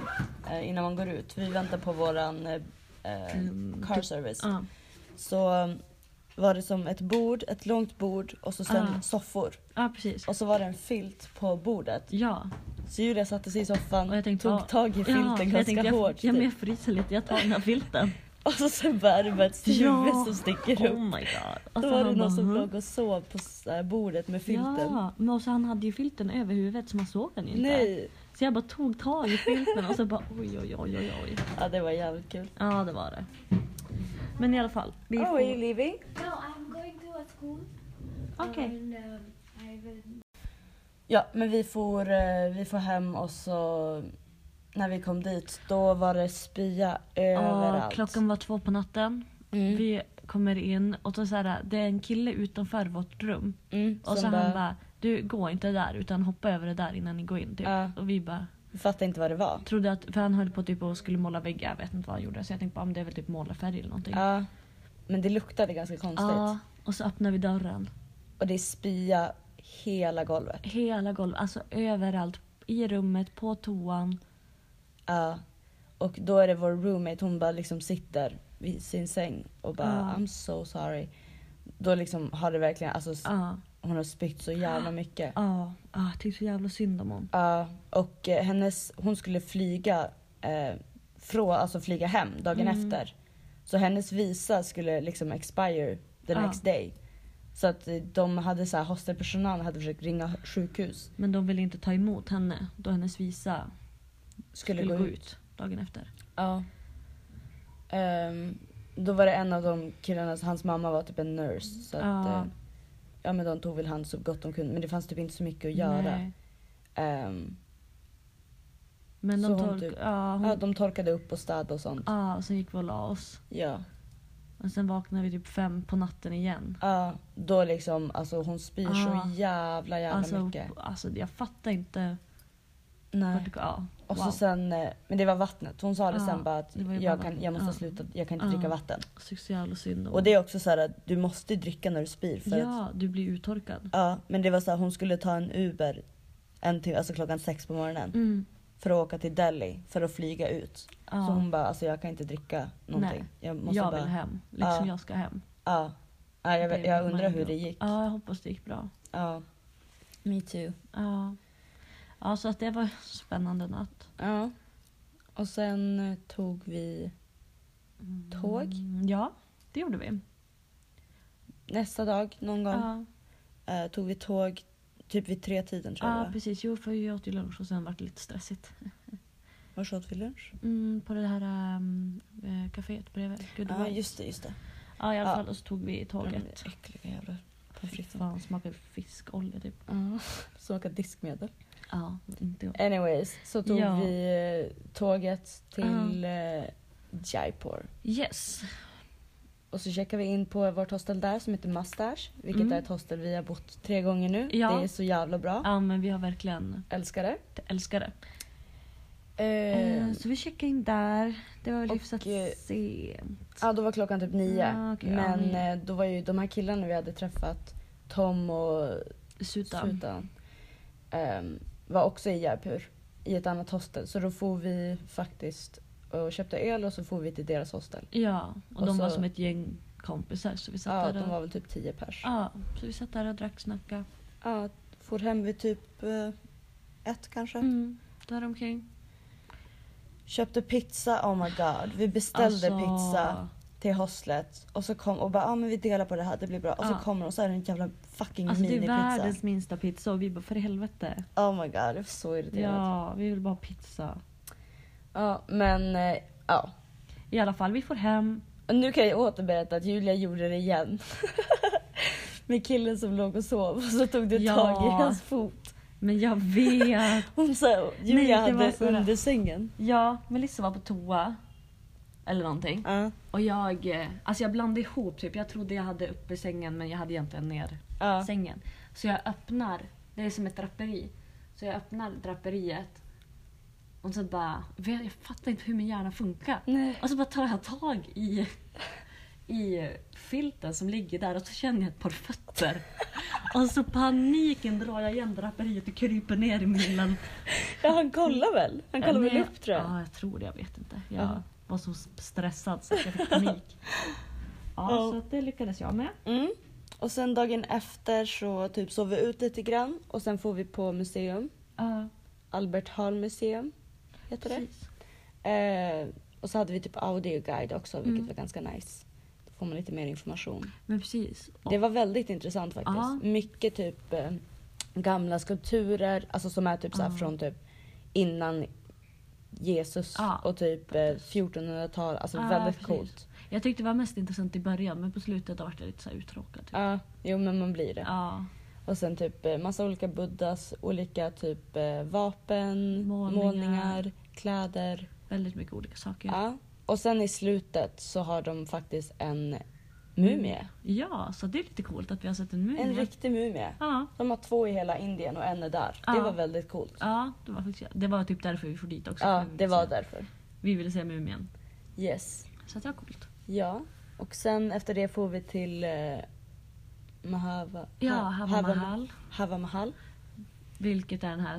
[SPEAKER 1] eh, innan man går ut. Vi väntar på våran eh, eh,
[SPEAKER 2] Mm,
[SPEAKER 1] car
[SPEAKER 2] du-
[SPEAKER 1] service.
[SPEAKER 2] Ja.
[SPEAKER 1] Så eh, var det som ett bord, ett långt bord och så sen
[SPEAKER 2] Ah.
[SPEAKER 1] soffor.
[SPEAKER 2] ja, precis.
[SPEAKER 1] Och så var det en filt på bordet.
[SPEAKER 2] Ja.
[SPEAKER 1] Så Julia satte sig i soffan,
[SPEAKER 2] Och jag tänkte, ja,
[SPEAKER 1] tog tag i filten
[SPEAKER 2] ja, jag
[SPEAKER 1] ganska
[SPEAKER 2] tänkte, jag,
[SPEAKER 1] hårt.
[SPEAKER 2] Ja, men
[SPEAKER 1] typ.
[SPEAKER 2] jag fryser lite. Jag tar den
[SPEAKER 1] *laughs*
[SPEAKER 2] här filten.
[SPEAKER 1] Och så sen var det bara ett
[SPEAKER 2] Ja.
[SPEAKER 1] huvud som sticker upp.
[SPEAKER 2] Oh my god. Och
[SPEAKER 1] Då
[SPEAKER 2] så
[SPEAKER 1] var det
[SPEAKER 2] han
[SPEAKER 1] någon som
[SPEAKER 2] "Huh?"
[SPEAKER 1] låg och sov på så här bordet med filten.
[SPEAKER 2] Ja, men också, han hade ju filten över huvudet så man såg den ju inte.
[SPEAKER 1] Nej!
[SPEAKER 2] Så jag bara tog tag i filten och så bara oj oj oj oj oj.
[SPEAKER 1] Ja det var jävligt kul.
[SPEAKER 2] Ja det var det. Men i alla fall. Vi
[SPEAKER 1] Oh,
[SPEAKER 2] får...
[SPEAKER 1] are you leaving?
[SPEAKER 3] No, I'm going to a school.
[SPEAKER 2] Okej.
[SPEAKER 3] And um, I will.
[SPEAKER 1] Ja, men vi får, eh, vi får hem och så när vi kom dit då var det spya
[SPEAKER 2] Ja,
[SPEAKER 1] överallt.
[SPEAKER 2] klockan var två på natten.
[SPEAKER 1] mm.
[SPEAKER 2] Vi kommer in och då så här, det är en kille utanför vårt rum.
[SPEAKER 1] mm.
[SPEAKER 2] Och så
[SPEAKER 1] Som
[SPEAKER 2] han bara du gå inte där utan hoppa över det där innan ni går in. Typ.
[SPEAKER 1] Ja.
[SPEAKER 2] Och vi bara Mm.
[SPEAKER 1] Vi fattade inte vad det var.
[SPEAKER 2] trodde att, för han höll på typ och skulle måla väggar, jag vet inte vad han gjorde. Så jag tänkte bara om det är väl typ målarfärg eller någonting.
[SPEAKER 1] Ja. Men det luktade ganska konstigt.
[SPEAKER 2] Ja, och så öppnar vi dörren.
[SPEAKER 1] Och det är spya hela golvet.
[SPEAKER 2] Hela golvet, alltså överallt. I rummet, på toan.
[SPEAKER 1] Ja. Och då är det vår roommate, hon bara liksom sitter vid sin säng och bara
[SPEAKER 2] Ja.
[SPEAKER 1] I'm so sorry. Då liksom har det verkligen, alltså s-
[SPEAKER 2] Ja,
[SPEAKER 1] hon har spytt så jävla mycket.
[SPEAKER 2] ja, ja. Jag tyckte så jävla synd om hon.
[SPEAKER 1] Ja, och eh, hennes, hon skulle flyga, eh, från, alltså flyga hem dagen
[SPEAKER 2] Mm.
[SPEAKER 1] efter. Så hennes visa skulle liksom expire the
[SPEAKER 2] Ja.
[SPEAKER 1] next day. Så att eh, de hade så här, hostelpersonalen hade försökt ringa sjukhus.
[SPEAKER 2] Men de ville inte ta emot henne då hennes visa
[SPEAKER 1] Skulle, gå ut.
[SPEAKER 2] dagen efter.
[SPEAKER 1] Ja. Ehm, då var det en av de killarna, så hans mamma var typ en nurse. Så att,
[SPEAKER 2] Ja.
[SPEAKER 1] eh, ja men de tog väl hand så gott de kunde men det fanns typ inte så mycket att göra.
[SPEAKER 2] Nej.
[SPEAKER 1] Ehm,
[SPEAKER 2] Men de
[SPEAKER 1] Så hon
[SPEAKER 2] tolk...
[SPEAKER 1] typ-
[SPEAKER 2] Ja, hon...
[SPEAKER 1] ja, de torkade upp och städade och sånt.
[SPEAKER 2] ja, och sen gick vi och la oss.
[SPEAKER 1] Ja.
[SPEAKER 2] Och sen vaknade vi typ fem på natten igen.
[SPEAKER 1] Ja, då liksom, alltså hon spyr så
[SPEAKER 2] Ja.
[SPEAKER 1] jävla jävla
[SPEAKER 2] Ah. Alltså,
[SPEAKER 1] mycket.
[SPEAKER 2] alltså jag fattar inte.
[SPEAKER 1] Nej.
[SPEAKER 2] Vart, ja,
[SPEAKER 1] Och
[SPEAKER 2] wow.
[SPEAKER 1] så sen, eh, men det var vattnet. Hon sa det
[SPEAKER 2] Ja,
[SPEAKER 1] sen bara att
[SPEAKER 2] det var ju
[SPEAKER 1] jag,
[SPEAKER 2] bara
[SPEAKER 1] kan,
[SPEAKER 2] vatten. Ah.
[SPEAKER 1] jag måste
[SPEAKER 2] Ja.
[SPEAKER 1] sluta, jag kan inte
[SPEAKER 2] Ja.
[SPEAKER 1] dricka vatten.
[SPEAKER 2] Så så jävla synd om
[SPEAKER 1] Och det är också så här att du måste dricka när du spyr för att,
[SPEAKER 2] Ja, du blir uttorkad.
[SPEAKER 1] ja, men det var så här, hon skulle ta en Uber en till, alltså klockan sex på morgonen
[SPEAKER 2] Mm.
[SPEAKER 1] för att åka till Delhi för att flyga ut.
[SPEAKER 2] Ja.
[SPEAKER 1] Så hon bara, alltså jag kan inte dricka någonting.
[SPEAKER 2] Nej,
[SPEAKER 1] Jag måste
[SPEAKER 2] jag
[SPEAKER 1] bara,
[SPEAKER 2] vill hem. Liksom
[SPEAKER 1] Ja.
[SPEAKER 2] jag ska hem.
[SPEAKER 1] ja. Ja, jag,
[SPEAKER 2] Det
[SPEAKER 1] jag
[SPEAKER 2] vill
[SPEAKER 1] undrar
[SPEAKER 2] man
[SPEAKER 1] hur
[SPEAKER 2] ändå.
[SPEAKER 1] det gick.
[SPEAKER 2] Ja, jag hoppas det gick bra.
[SPEAKER 1] Ja. Me too.
[SPEAKER 2] Ja. Ja, så att det var en spännande natt.
[SPEAKER 1] Ja. Och sen eh, tog vi Tåg?
[SPEAKER 2] Mm, ja, det gjorde vi.
[SPEAKER 1] nästa dag någon gång
[SPEAKER 2] Ja,
[SPEAKER 1] eh, tog vi tåg typ vid tre tiden tror jag
[SPEAKER 2] ja
[SPEAKER 1] det var.
[SPEAKER 2] precis. Jo, för jag åt ju lunch och sen var det lite stressigt.
[SPEAKER 1] Var så åt vi lunch?
[SPEAKER 2] Mm, på det här ehm, eh, kaféet bredvid. Gud,
[SPEAKER 1] Ja
[SPEAKER 2] var-
[SPEAKER 1] just det, just det.
[SPEAKER 2] ja, i alla
[SPEAKER 1] ja.
[SPEAKER 2] fall. Och så tog vi
[SPEAKER 1] Mm,
[SPEAKER 2] tåget.
[SPEAKER 1] äckliga jävla pommes
[SPEAKER 2] Fy
[SPEAKER 1] fritesen.
[SPEAKER 2] fan, smakade fiskolja typ. *laughs*
[SPEAKER 1] Ja. Smaka diskmedel.
[SPEAKER 2] Ja, Eh, inte gott.
[SPEAKER 1] Anyways, så tog
[SPEAKER 2] Ja.
[SPEAKER 1] vi eh, tåget till eh, Jaipur.
[SPEAKER 2] Yes.
[SPEAKER 1] Och så checkade vi in på vårt hostel där som heter Mustache. Vilket
[SPEAKER 2] Mm.
[SPEAKER 1] är ett hostel vi har bott tre gånger nu.
[SPEAKER 2] Ja.
[SPEAKER 1] Det är så jävla bra.
[SPEAKER 2] Ja, men vi har verkligen
[SPEAKER 1] Älskar det.
[SPEAKER 2] älskat det.
[SPEAKER 1] Eh,
[SPEAKER 2] Eh, Så vi checkade in där. Det var väl
[SPEAKER 1] och,
[SPEAKER 2] hyfsat
[SPEAKER 1] eh,
[SPEAKER 2] sent.
[SPEAKER 1] Ja, då var klockan typ nio.
[SPEAKER 2] Ah, okej, ja,
[SPEAKER 1] Men
[SPEAKER 2] nio.
[SPEAKER 1] eh, då var ju de här killarna vi hade träffat, Tom och
[SPEAKER 2] Suta.
[SPEAKER 1] Sutan, ehm, var också i Jaipur i ett annat hostel. Så då får vi faktiskt och köpte öl och så får vi till deras hostel.
[SPEAKER 2] Ja, och,
[SPEAKER 1] Och
[SPEAKER 2] de
[SPEAKER 1] så-
[SPEAKER 2] var som ett gäng kompisar så vi satt
[SPEAKER 1] Ja,
[SPEAKER 2] där och...
[SPEAKER 1] de var väl typ tio pers. Ja,
[SPEAKER 2] Ja, så vi satt där och drack, snackade.
[SPEAKER 1] får hem vid typ eh, ett kanske.
[SPEAKER 2] Mm. Däromkring. Alltså-
[SPEAKER 1] Köpte pizza, oh my god. Vi beställde pizza. till hostlet och så kom och bara ah, men vi delar på det här, det blir bra. Och så
[SPEAKER 2] Ja.
[SPEAKER 1] kommer de och så är det en jävla fucking
[SPEAKER 2] Alltså det är
[SPEAKER 1] minipizza.
[SPEAKER 2] världens minsta pizza och vi bara för helvete.
[SPEAKER 1] Oh my god, jag är så irriterad. Ja.
[SPEAKER 2] Ja, vi vill bara ha pizza.
[SPEAKER 1] men eh, ja.
[SPEAKER 2] I alla fall, vi får hem.
[SPEAKER 1] Och nu kan jag återberätta att Julia gjorde det igen. *laughs* Med killen som låg och sov och så tog du
[SPEAKER 2] Ja.
[SPEAKER 1] tag i hans fot.
[SPEAKER 2] Men
[SPEAKER 1] *laughs*
[SPEAKER 2] jag vet.
[SPEAKER 1] Hon sa, Julia
[SPEAKER 2] Nej, det var
[SPEAKER 1] hade
[SPEAKER 2] så där.
[SPEAKER 1] under sängen.
[SPEAKER 2] ja, Melissa var på toa. Eller någonting.
[SPEAKER 1] Ja.
[SPEAKER 2] Och jag, eh, alltså jag blandade ihop typ. Jag trodde jag hade uppe sängen men jag hade egentligen ner
[SPEAKER 1] Ja.
[SPEAKER 2] sängen. Så jag öppnar, det är som ett draperi. Så jag öppnar draperiet. Och så bara, vet- jag fattar inte hur min hjärna funkar.
[SPEAKER 1] Nej.
[SPEAKER 2] Och så bara tar jag tag i, i filten som ligger där och så känner jag ett par fötter. Och så paniken drar jag igen draperiet och kryper ner i myllan.
[SPEAKER 1] Ja, han kollar väl? Han kollar väl
[SPEAKER 2] Nej,
[SPEAKER 1] upp tror jag.
[SPEAKER 2] Ja, jag tror det. Jag vet inte. Jag
[SPEAKER 1] Ja.
[SPEAKER 2] var så stressad så att jag
[SPEAKER 1] *laughs*
[SPEAKER 2] fick panik. Ja,
[SPEAKER 1] Ja.
[SPEAKER 2] så att det lyckades jag med.
[SPEAKER 1] Mm. Och sen dagen efter så typ sov vi ut lite grann och sen får vi på museum.
[SPEAKER 2] Ja,
[SPEAKER 1] Albert Hall museum heter det.
[SPEAKER 2] precis.
[SPEAKER 1] Eh, och så hade vi typ audioguide också vilket
[SPEAKER 2] Mm.
[SPEAKER 1] var ganska nice. Då får man lite mer information.
[SPEAKER 2] Men precis. Och,
[SPEAKER 1] Det var väldigt intressant faktiskt.
[SPEAKER 2] Ja.
[SPEAKER 1] Mycket typ eh, gamla skulpturer, alltså som är typ så här
[SPEAKER 2] Ja.
[SPEAKER 1] från typ innan Jesus
[SPEAKER 2] Ja,
[SPEAKER 1] och typ eh, 1400-tal. Alltså
[SPEAKER 2] Ja,
[SPEAKER 1] väldigt
[SPEAKER 2] precis.
[SPEAKER 1] coolt.
[SPEAKER 2] Jag tyckte det var mest intressant i början men på slutet vart jag lite så här uttråkad. Typ.
[SPEAKER 1] Ja, jo men man blir det.
[SPEAKER 2] Ja.
[SPEAKER 1] Och sen typ eh, massa olika buddhas, olika typ eh, vapen, målningar,
[SPEAKER 2] Målningar.
[SPEAKER 1] kläder.
[SPEAKER 2] Väldigt mycket olika saker.
[SPEAKER 1] Ja. Och sen i slutet så har de faktiskt en mumie.
[SPEAKER 2] Ja, så det är lite coolt att vi har sett en mumie.
[SPEAKER 1] En riktig mumie.
[SPEAKER 2] Ja.
[SPEAKER 1] De har två i hela Indien och en är där. Det
[SPEAKER 2] Ja.
[SPEAKER 1] var väldigt coolt.
[SPEAKER 2] Ja, det var, faktiskt, det var typ därför vi for dit också.
[SPEAKER 1] Ja,
[SPEAKER 2] Vi ville
[SPEAKER 1] det var
[SPEAKER 2] se-
[SPEAKER 1] därför.
[SPEAKER 2] Vi ville se mumien.
[SPEAKER 1] Yes.
[SPEAKER 2] Så att det var coolt.
[SPEAKER 1] Ja. Och sen efter det får vi till eh, Mahava...
[SPEAKER 2] Ja,
[SPEAKER 1] Ha-
[SPEAKER 2] Hava Mahal.
[SPEAKER 1] Hava Mahal.
[SPEAKER 2] Vilket är den här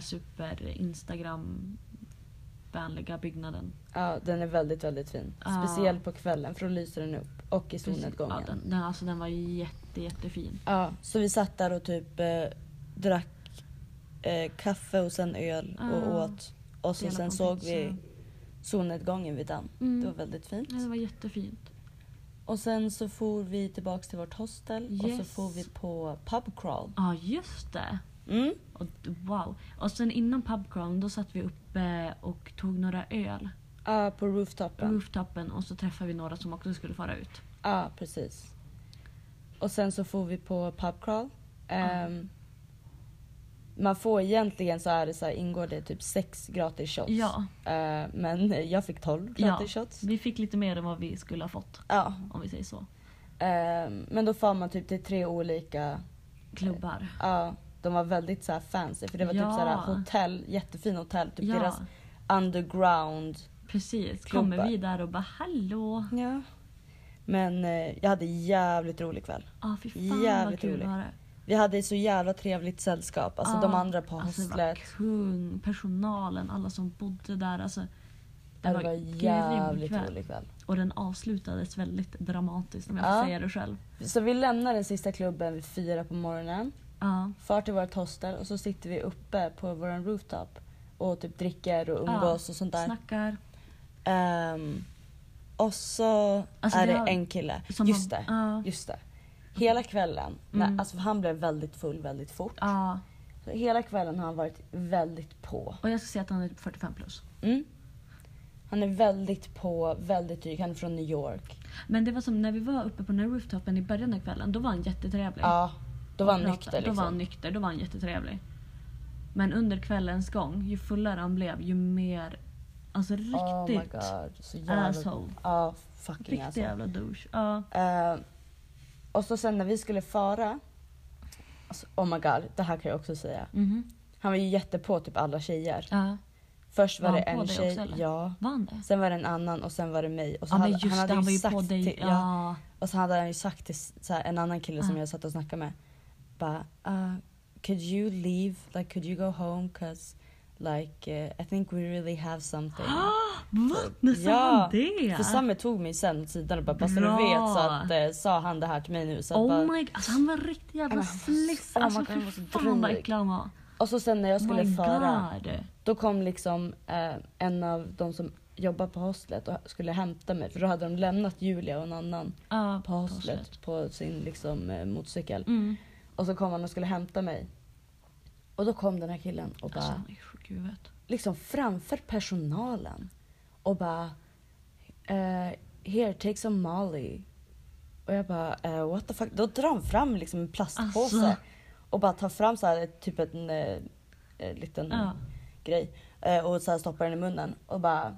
[SPEAKER 2] super-instagram-vänliga byggnaden.
[SPEAKER 1] Ja, den är väldigt, väldigt fin.
[SPEAKER 2] Ja.
[SPEAKER 1] Speciellt på kvällen för då lyser den upp och i
[SPEAKER 2] Ja,
[SPEAKER 1] solnedgången.
[SPEAKER 2] den, den, alltså, den var jätte, jättefin.
[SPEAKER 1] Ja, så vi satt där och typ eh, drack eh, kaffe och sen öl och
[SPEAKER 2] Ah.
[SPEAKER 1] åt. Och så
[SPEAKER 2] Delade
[SPEAKER 1] sen
[SPEAKER 2] på
[SPEAKER 1] såg
[SPEAKER 2] pizza.
[SPEAKER 1] vi solnedgången vid den.
[SPEAKER 2] Mm.
[SPEAKER 1] Det var väldigt fint.
[SPEAKER 2] Ja, det var jättefint.
[SPEAKER 1] Och sen så for vi tillbaks till vårt hostel och så
[SPEAKER 2] Yes.
[SPEAKER 1] for vi på pub crawl.
[SPEAKER 2] Ja, just det.
[SPEAKER 1] Mm.
[SPEAKER 2] Och, d- wow. Och sen innan pubcrown då satt vi uppe och tog några öl
[SPEAKER 1] Ja, på
[SPEAKER 2] på
[SPEAKER 1] rooftopen.
[SPEAKER 2] rooftopen och så träffade vi några som också skulle fara ut.
[SPEAKER 1] Ja, precis. Och sen så får vi på pub crawl.
[SPEAKER 2] Ah.
[SPEAKER 1] Ehm, Man får egentligen så är det så här, ingår det typ sex gratis shots.
[SPEAKER 2] Ja,
[SPEAKER 1] Eh, men jag fick 12
[SPEAKER 2] Ja. Mm.
[SPEAKER 1] gratis shots.
[SPEAKER 2] vi fick lite mer än vad vi skulle ha fått
[SPEAKER 1] Ja.
[SPEAKER 2] om vi säger så.
[SPEAKER 1] Eh, men då får man typ till tre olika,
[SPEAKER 2] Klubbar.
[SPEAKER 1] ja de var väldigt så här fancy för det var
[SPEAKER 2] Ja.
[SPEAKER 1] typ såhär hotell, jättefina hotell, typ
[SPEAKER 2] ja,
[SPEAKER 1] deras underground.
[SPEAKER 2] precis.
[SPEAKER 1] klubbar.
[SPEAKER 2] Kommer vi där och bara hallå?
[SPEAKER 1] Ja. Men eh, jag hade jävligt rolig kväll.
[SPEAKER 2] Ja, fy fan
[SPEAKER 1] Jävligt
[SPEAKER 2] vad kul
[SPEAKER 1] roligt.
[SPEAKER 2] var det.
[SPEAKER 1] Vi hade så jävla trevligt sällskap, alltså
[SPEAKER 2] Ja,
[SPEAKER 1] de andra på
[SPEAKER 2] Alltså det var
[SPEAKER 1] hostlet.
[SPEAKER 2] kung, personalen, alla som bodde där. Alltså,
[SPEAKER 1] Det var,
[SPEAKER 2] grym
[SPEAKER 1] jävligt
[SPEAKER 2] kväll.
[SPEAKER 1] rolig kväll.
[SPEAKER 2] Och den avslutades väldigt dramatiskt om jag
[SPEAKER 1] Ja.
[SPEAKER 2] får säga det själv.
[SPEAKER 1] Så vi lämnar den sista klubben vid fyra på morgonen,
[SPEAKER 2] Ja,
[SPEAKER 1] far till vårt hostel och så sitter vi uppe på vår rooftop och typ dricker och umgås och sånt där.
[SPEAKER 2] snackar.
[SPEAKER 1] Ehm, och så
[SPEAKER 2] Alltså,
[SPEAKER 1] är
[SPEAKER 2] det
[SPEAKER 1] det
[SPEAKER 2] har-
[SPEAKER 1] en kille.
[SPEAKER 2] som
[SPEAKER 1] Just
[SPEAKER 2] har-
[SPEAKER 1] det.
[SPEAKER 2] ja.
[SPEAKER 1] Just det. Hela kvällen, när,
[SPEAKER 2] Mm.
[SPEAKER 1] alltså, han blev väldigt full väldigt fort.
[SPEAKER 2] Ja,
[SPEAKER 1] Så hela kvällen har han varit väldigt på.
[SPEAKER 2] och jag ska säga att han är 45 plus.
[SPEAKER 1] Mm. Han är väldigt på, väldigt dryg. Han är från New York.
[SPEAKER 2] Men det var som när vi var uppe på den här rooftopen i början av kvällen, då var han jättetrevlig.
[SPEAKER 1] Ja, då var han
[SPEAKER 2] Prata-
[SPEAKER 1] nykter
[SPEAKER 2] Då var han
[SPEAKER 1] liksom.
[SPEAKER 2] nykter, då var han jättetrevlig. Men under kvällens gång, ju fullare han blev ju mer... Alltså
[SPEAKER 1] Oh my
[SPEAKER 2] riktigt Äh,
[SPEAKER 1] god. Så jävla...
[SPEAKER 2] asshole.
[SPEAKER 1] Ja, fucking
[SPEAKER 2] Riktig
[SPEAKER 1] asshole.
[SPEAKER 2] jävla douche. Ja.
[SPEAKER 1] Eh, och så sen när vi skulle fara. Alltså, oh my god, det här kan jag också säga.
[SPEAKER 2] Mhm.
[SPEAKER 1] Han var ju jättepå typ alla tjejer.
[SPEAKER 2] ja.
[SPEAKER 1] Först var,
[SPEAKER 2] Var
[SPEAKER 1] det
[SPEAKER 2] han på
[SPEAKER 1] en
[SPEAKER 2] dig
[SPEAKER 1] tjej,
[SPEAKER 2] också, eller?
[SPEAKER 1] ja.
[SPEAKER 2] Var han det?
[SPEAKER 1] Sen var det en annan och sen var det mig. Och så
[SPEAKER 2] Ja men
[SPEAKER 1] hade-
[SPEAKER 2] just det, han var ju på dig.
[SPEAKER 1] till, ja.
[SPEAKER 2] ja.
[SPEAKER 1] Och så hade han ju sagt till s- så här, en annan kille som
[SPEAKER 2] Ja.
[SPEAKER 1] jag satt och snackade med. Bara, uh, could you leave? Like could you go home? Cause like eh, I think we really have
[SPEAKER 2] *gasps*
[SPEAKER 1] something.
[SPEAKER 2] Va? När sa
[SPEAKER 1] Ja,
[SPEAKER 2] han det?
[SPEAKER 1] För Summer tog mig sen åt sidan och bara, bara så du
[SPEAKER 2] Bra.
[SPEAKER 1] vet så att, eh, sa han det här till mig nu. Så att bara,
[SPEAKER 2] Oh my god, alltså han var riktigt jävla
[SPEAKER 1] Men han var så-
[SPEAKER 2] sliss.
[SPEAKER 1] oh my
[SPEAKER 2] Alltså
[SPEAKER 1] god, han var
[SPEAKER 2] fy
[SPEAKER 1] så
[SPEAKER 2] fan vad
[SPEAKER 1] dryg.
[SPEAKER 2] äcklig han var. Oh
[SPEAKER 1] och så sen när jag skulle
[SPEAKER 2] My
[SPEAKER 1] föra
[SPEAKER 2] god.
[SPEAKER 1] då kom liksom eh, en av de som jobbade på hostlet och skulle hämta mig för då hade de lämnat Julia och en annan
[SPEAKER 2] Ja,
[SPEAKER 1] på hostlet på sin liksom, eh, motorcykel.
[SPEAKER 2] Mm.
[SPEAKER 1] Och så kom han och skulle hämta mig. Och då kom den här killen och bara
[SPEAKER 2] Alltså han är sjuk i huvudet.
[SPEAKER 1] liksom framför personalen och bara eh, “Here, take some Molly”. Och jag bara eh, “What the fuck?” Då drar han fram liksom en plastpåse
[SPEAKER 2] Alltså.
[SPEAKER 1] och bara tar fram så här, typ en eh, eh, liten
[SPEAKER 2] Ja.
[SPEAKER 1] grej eh, och så här stoppar den i munnen och bara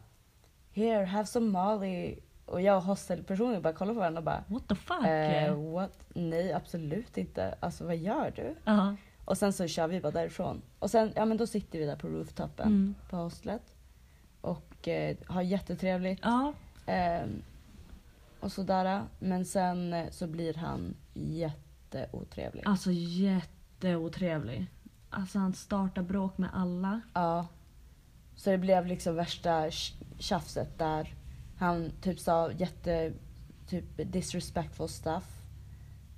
[SPEAKER 1] “Here, have some Molly”. Och jag och hostelpersonen bara kollar på varandra och bara
[SPEAKER 2] What the fuck?
[SPEAKER 1] eh, “What? Nej, absolut inte. Alltså vad gör du?”
[SPEAKER 2] ja.
[SPEAKER 1] Och sen så kör vi bara därifrån. Och sen, ja men då sitter vi där på rooftopen
[SPEAKER 2] Mm.
[SPEAKER 1] på hostlet. Och eh, har jättetrevligt.
[SPEAKER 2] ja.
[SPEAKER 1] Ehm, och sådär. Men sen eh, så blir han jätteotrevlig.
[SPEAKER 2] Alltså jätteotrevlig. Alltså han startar bråk med alla.
[SPEAKER 1] Ja. Så det blev liksom värsta tj- tjafset där. Han typ sa jätte, typ disrespectful stuff.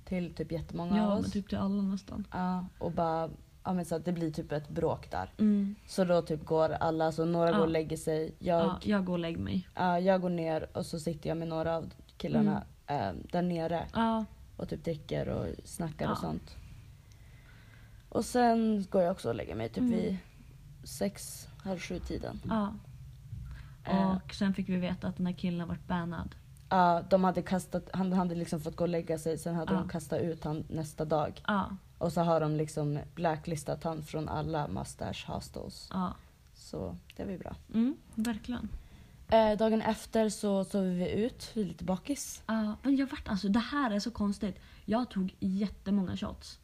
[SPEAKER 1] Till typ jättemånga av
[SPEAKER 2] Ja,
[SPEAKER 1] oss.
[SPEAKER 2] men typ till alla nästan.
[SPEAKER 1] Ja, och bara, ja men så att det blir typ ett bråk där.
[SPEAKER 2] Mm.
[SPEAKER 1] Så då typ går alla, så några
[SPEAKER 2] Ja.
[SPEAKER 1] går och lägger sig. Jag,
[SPEAKER 2] Ja, jag går och lägger mig.
[SPEAKER 1] ja, jag går ner och så sitter jag med några av killarna
[SPEAKER 2] Mm.
[SPEAKER 1] eh, där nere
[SPEAKER 2] Ja,
[SPEAKER 1] och typ dricker och snackar
[SPEAKER 2] Ja.
[SPEAKER 1] och sånt. Och sen går jag också och lägger mig typ
[SPEAKER 2] Mm.
[SPEAKER 1] vid sex, halv sju tiden.
[SPEAKER 2] ja.
[SPEAKER 1] Eh.
[SPEAKER 2] Och sen fick vi veta att den här killen varit bannad.
[SPEAKER 1] Ja, de hade kastat, han hade liksom fått gå och lägga sig, sen hade
[SPEAKER 2] Ja.
[SPEAKER 1] de kastat ut han nästa dag.
[SPEAKER 2] Ja,
[SPEAKER 1] Och så har de liksom blacklistat han från alla mustache hostels.
[SPEAKER 2] ja.
[SPEAKER 1] Så det var ju bra.
[SPEAKER 2] Mm, verkligen.
[SPEAKER 1] Eh, dagen efter så sov vi ut, vi är lite bakis.
[SPEAKER 2] Ja, men jag vart alltså, det här är så konstigt. Jag tog jättemånga shots.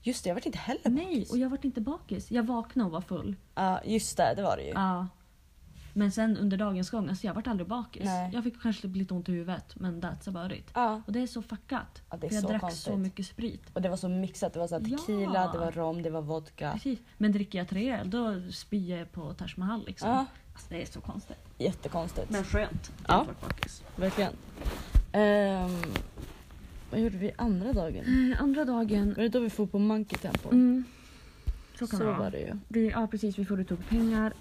[SPEAKER 1] Just det, jag vart inte heller
[SPEAKER 2] Nej,
[SPEAKER 1] bakis.
[SPEAKER 2] och jag vart inte bakis. Jag vaknade och var full.
[SPEAKER 1] Ja, just det, det var det ju.
[SPEAKER 2] Ja. Men sen under dagens gång, alltså jag vart aldrig bakis.
[SPEAKER 1] Nej.
[SPEAKER 2] Jag fick kanske lite ont i huvudet, men that's about it.
[SPEAKER 1] Ja.
[SPEAKER 2] Och det är så fuckat.
[SPEAKER 1] Ja, det är
[SPEAKER 2] för jag
[SPEAKER 1] så
[SPEAKER 2] drack
[SPEAKER 1] konstigt.
[SPEAKER 2] så mycket sprit.
[SPEAKER 1] Och det var så mixat, det var så här tequila,
[SPEAKER 2] Ja.
[SPEAKER 1] det var rom, det var vodka.
[SPEAKER 2] Precis. Men dricker jag tre öl, då spyr jag på Taj Mahal liksom.
[SPEAKER 1] Ja.
[SPEAKER 2] Alltså, det är så konstigt.
[SPEAKER 1] Jättekonstigt.
[SPEAKER 2] Men skönt att
[SPEAKER 1] Ja.
[SPEAKER 2] jag vart bakis.
[SPEAKER 1] Verkligen. Ehm, vad gjorde vi andra dagen?
[SPEAKER 2] Eh, Andra dagen...
[SPEAKER 1] Var det då vi får på Monkey Temple?
[SPEAKER 2] Mm,
[SPEAKER 1] så
[SPEAKER 2] så kan det vara.
[SPEAKER 1] var det ju.
[SPEAKER 2] Vi, ja precis, vi får ut upp pengar.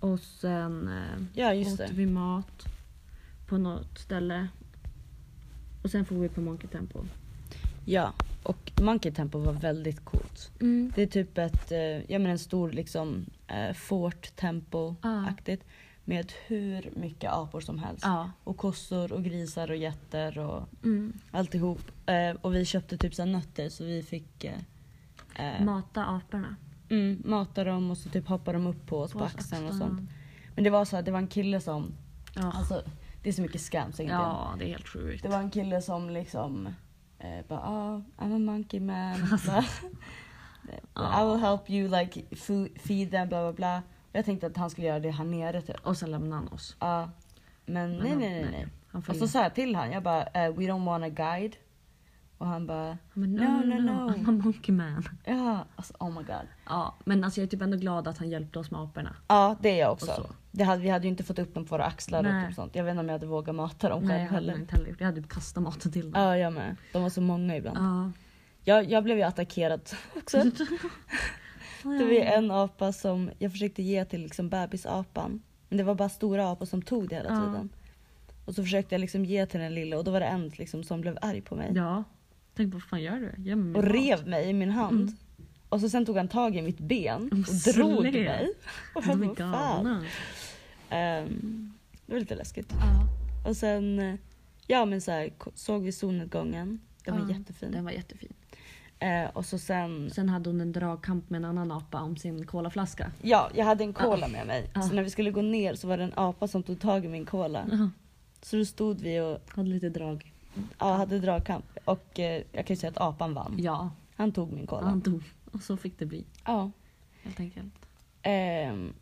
[SPEAKER 2] Och sen eh,
[SPEAKER 1] Ja, just
[SPEAKER 2] åt
[SPEAKER 1] det.
[SPEAKER 2] vi mat på något ställe. Och sen får vi på Monkey Temple.
[SPEAKER 1] Ja, och Monkey Temple var väldigt coolt. Det är typ ett, eh, ja men en stor liksom eh, fort
[SPEAKER 2] Ah.
[SPEAKER 1] temple-aktigt. Med hur mycket apor som helst.
[SPEAKER 2] Ja.
[SPEAKER 1] Och kossor och grisar och getter och
[SPEAKER 2] Mm.
[SPEAKER 1] alltihop. Eh, och vi köpte typ så här nötter så vi fick eh, eh,
[SPEAKER 2] Mata aporna.
[SPEAKER 1] mm, mata dem och så typ hoppar de upp på oss på,
[SPEAKER 2] På oss
[SPEAKER 1] axeln och
[SPEAKER 2] axlarna.
[SPEAKER 1] sånt. Men det var så här, det var en kille som,
[SPEAKER 2] Ja.
[SPEAKER 1] alltså det är så mycket scams egentligen.
[SPEAKER 2] ja, det är helt sjukt.
[SPEAKER 1] Det var en kille som liksom eh, bara ah, I'm a monkey man.
[SPEAKER 2] *laughs*
[SPEAKER 1] Bara, I will help you like fu- feed them bla bla bla. Och jag tänkte att han skulle göra det här nere typ.
[SPEAKER 2] Och sen lämnade han oss.
[SPEAKER 1] Ja. men nej
[SPEAKER 2] han-
[SPEAKER 1] nej nej. nej.
[SPEAKER 2] Han
[SPEAKER 1] Och
[SPEAKER 2] följde.
[SPEAKER 1] så sa jag till han, jag bara eh, we don't want a guide. Och han bara
[SPEAKER 2] men,
[SPEAKER 1] no, no, no.
[SPEAKER 2] I'm a monkey man.
[SPEAKER 1] ja, alltså, oh my god.
[SPEAKER 2] Ja, men alltså jag är typ ändå glad att han hjälpte oss med aporna.
[SPEAKER 1] Ja det är jag
[SPEAKER 2] Och
[SPEAKER 1] också.
[SPEAKER 2] så.
[SPEAKER 1] Det hade, vi hade ju inte fått upp dem på våra axlar och
[SPEAKER 2] Nej.
[SPEAKER 1] typ sånt. Jag vet inte om jag hade vågat mata dem
[SPEAKER 2] Nej,
[SPEAKER 1] själv
[SPEAKER 2] jag hade
[SPEAKER 1] heller.
[SPEAKER 2] inte heller gjort. Jag hade typ kastat maten till dem.
[SPEAKER 1] Ja jag med. De var så många ibland.
[SPEAKER 2] Ja.
[SPEAKER 1] Jag, jag blev ju attackerad *laughs* också. Det var ju en apa som jag försökte ge till liksom bebisapan. Men det var bara stora apor som tog det hela
[SPEAKER 2] Ja.
[SPEAKER 1] tiden. Och så försökte jag liksom ge till den lilla och då var det en liksom som blev arg på mig.
[SPEAKER 2] Ja. Tänk vad fan gör du? Ge mig min
[SPEAKER 1] Och
[SPEAKER 2] mat.
[SPEAKER 1] rev mig i min hand.
[SPEAKER 2] Mm.
[SPEAKER 1] Och så sen tog han tag i mitt ben
[SPEAKER 2] Men
[SPEAKER 1] och drog
[SPEAKER 2] slä.
[SPEAKER 1] mig.
[SPEAKER 2] *laughs*
[SPEAKER 1] Och jag
[SPEAKER 2] De
[SPEAKER 1] bara,
[SPEAKER 2] är
[SPEAKER 1] fan.
[SPEAKER 2] galna.
[SPEAKER 1] Ehm, det var lite läskigt. Och sen eh, ja men så här, k- såg vi solnedgången. Den var
[SPEAKER 2] Ja,
[SPEAKER 1] jättefin.
[SPEAKER 2] Den var jättefin.
[SPEAKER 1] Eh, och så sen
[SPEAKER 2] Sen hade hon en dragkamp med en annan apa om sin colaflaska.
[SPEAKER 1] Ja, jag hade en cola med mig.
[SPEAKER 2] Ja. Mm.
[SPEAKER 1] Så när vi skulle gå ner så var det en apa som tog tag i min cola.
[SPEAKER 2] Ja.
[SPEAKER 1] Så då stod vi och
[SPEAKER 2] Hade lite drag.
[SPEAKER 1] ja, hade dragkamp. Och eh, jag kan ju säga att apan vann.
[SPEAKER 2] Ja,
[SPEAKER 1] Han tog min cola.
[SPEAKER 2] han dog. Och så fick det bli
[SPEAKER 1] Ja.
[SPEAKER 2] helt enkelt.
[SPEAKER 1] Ehm,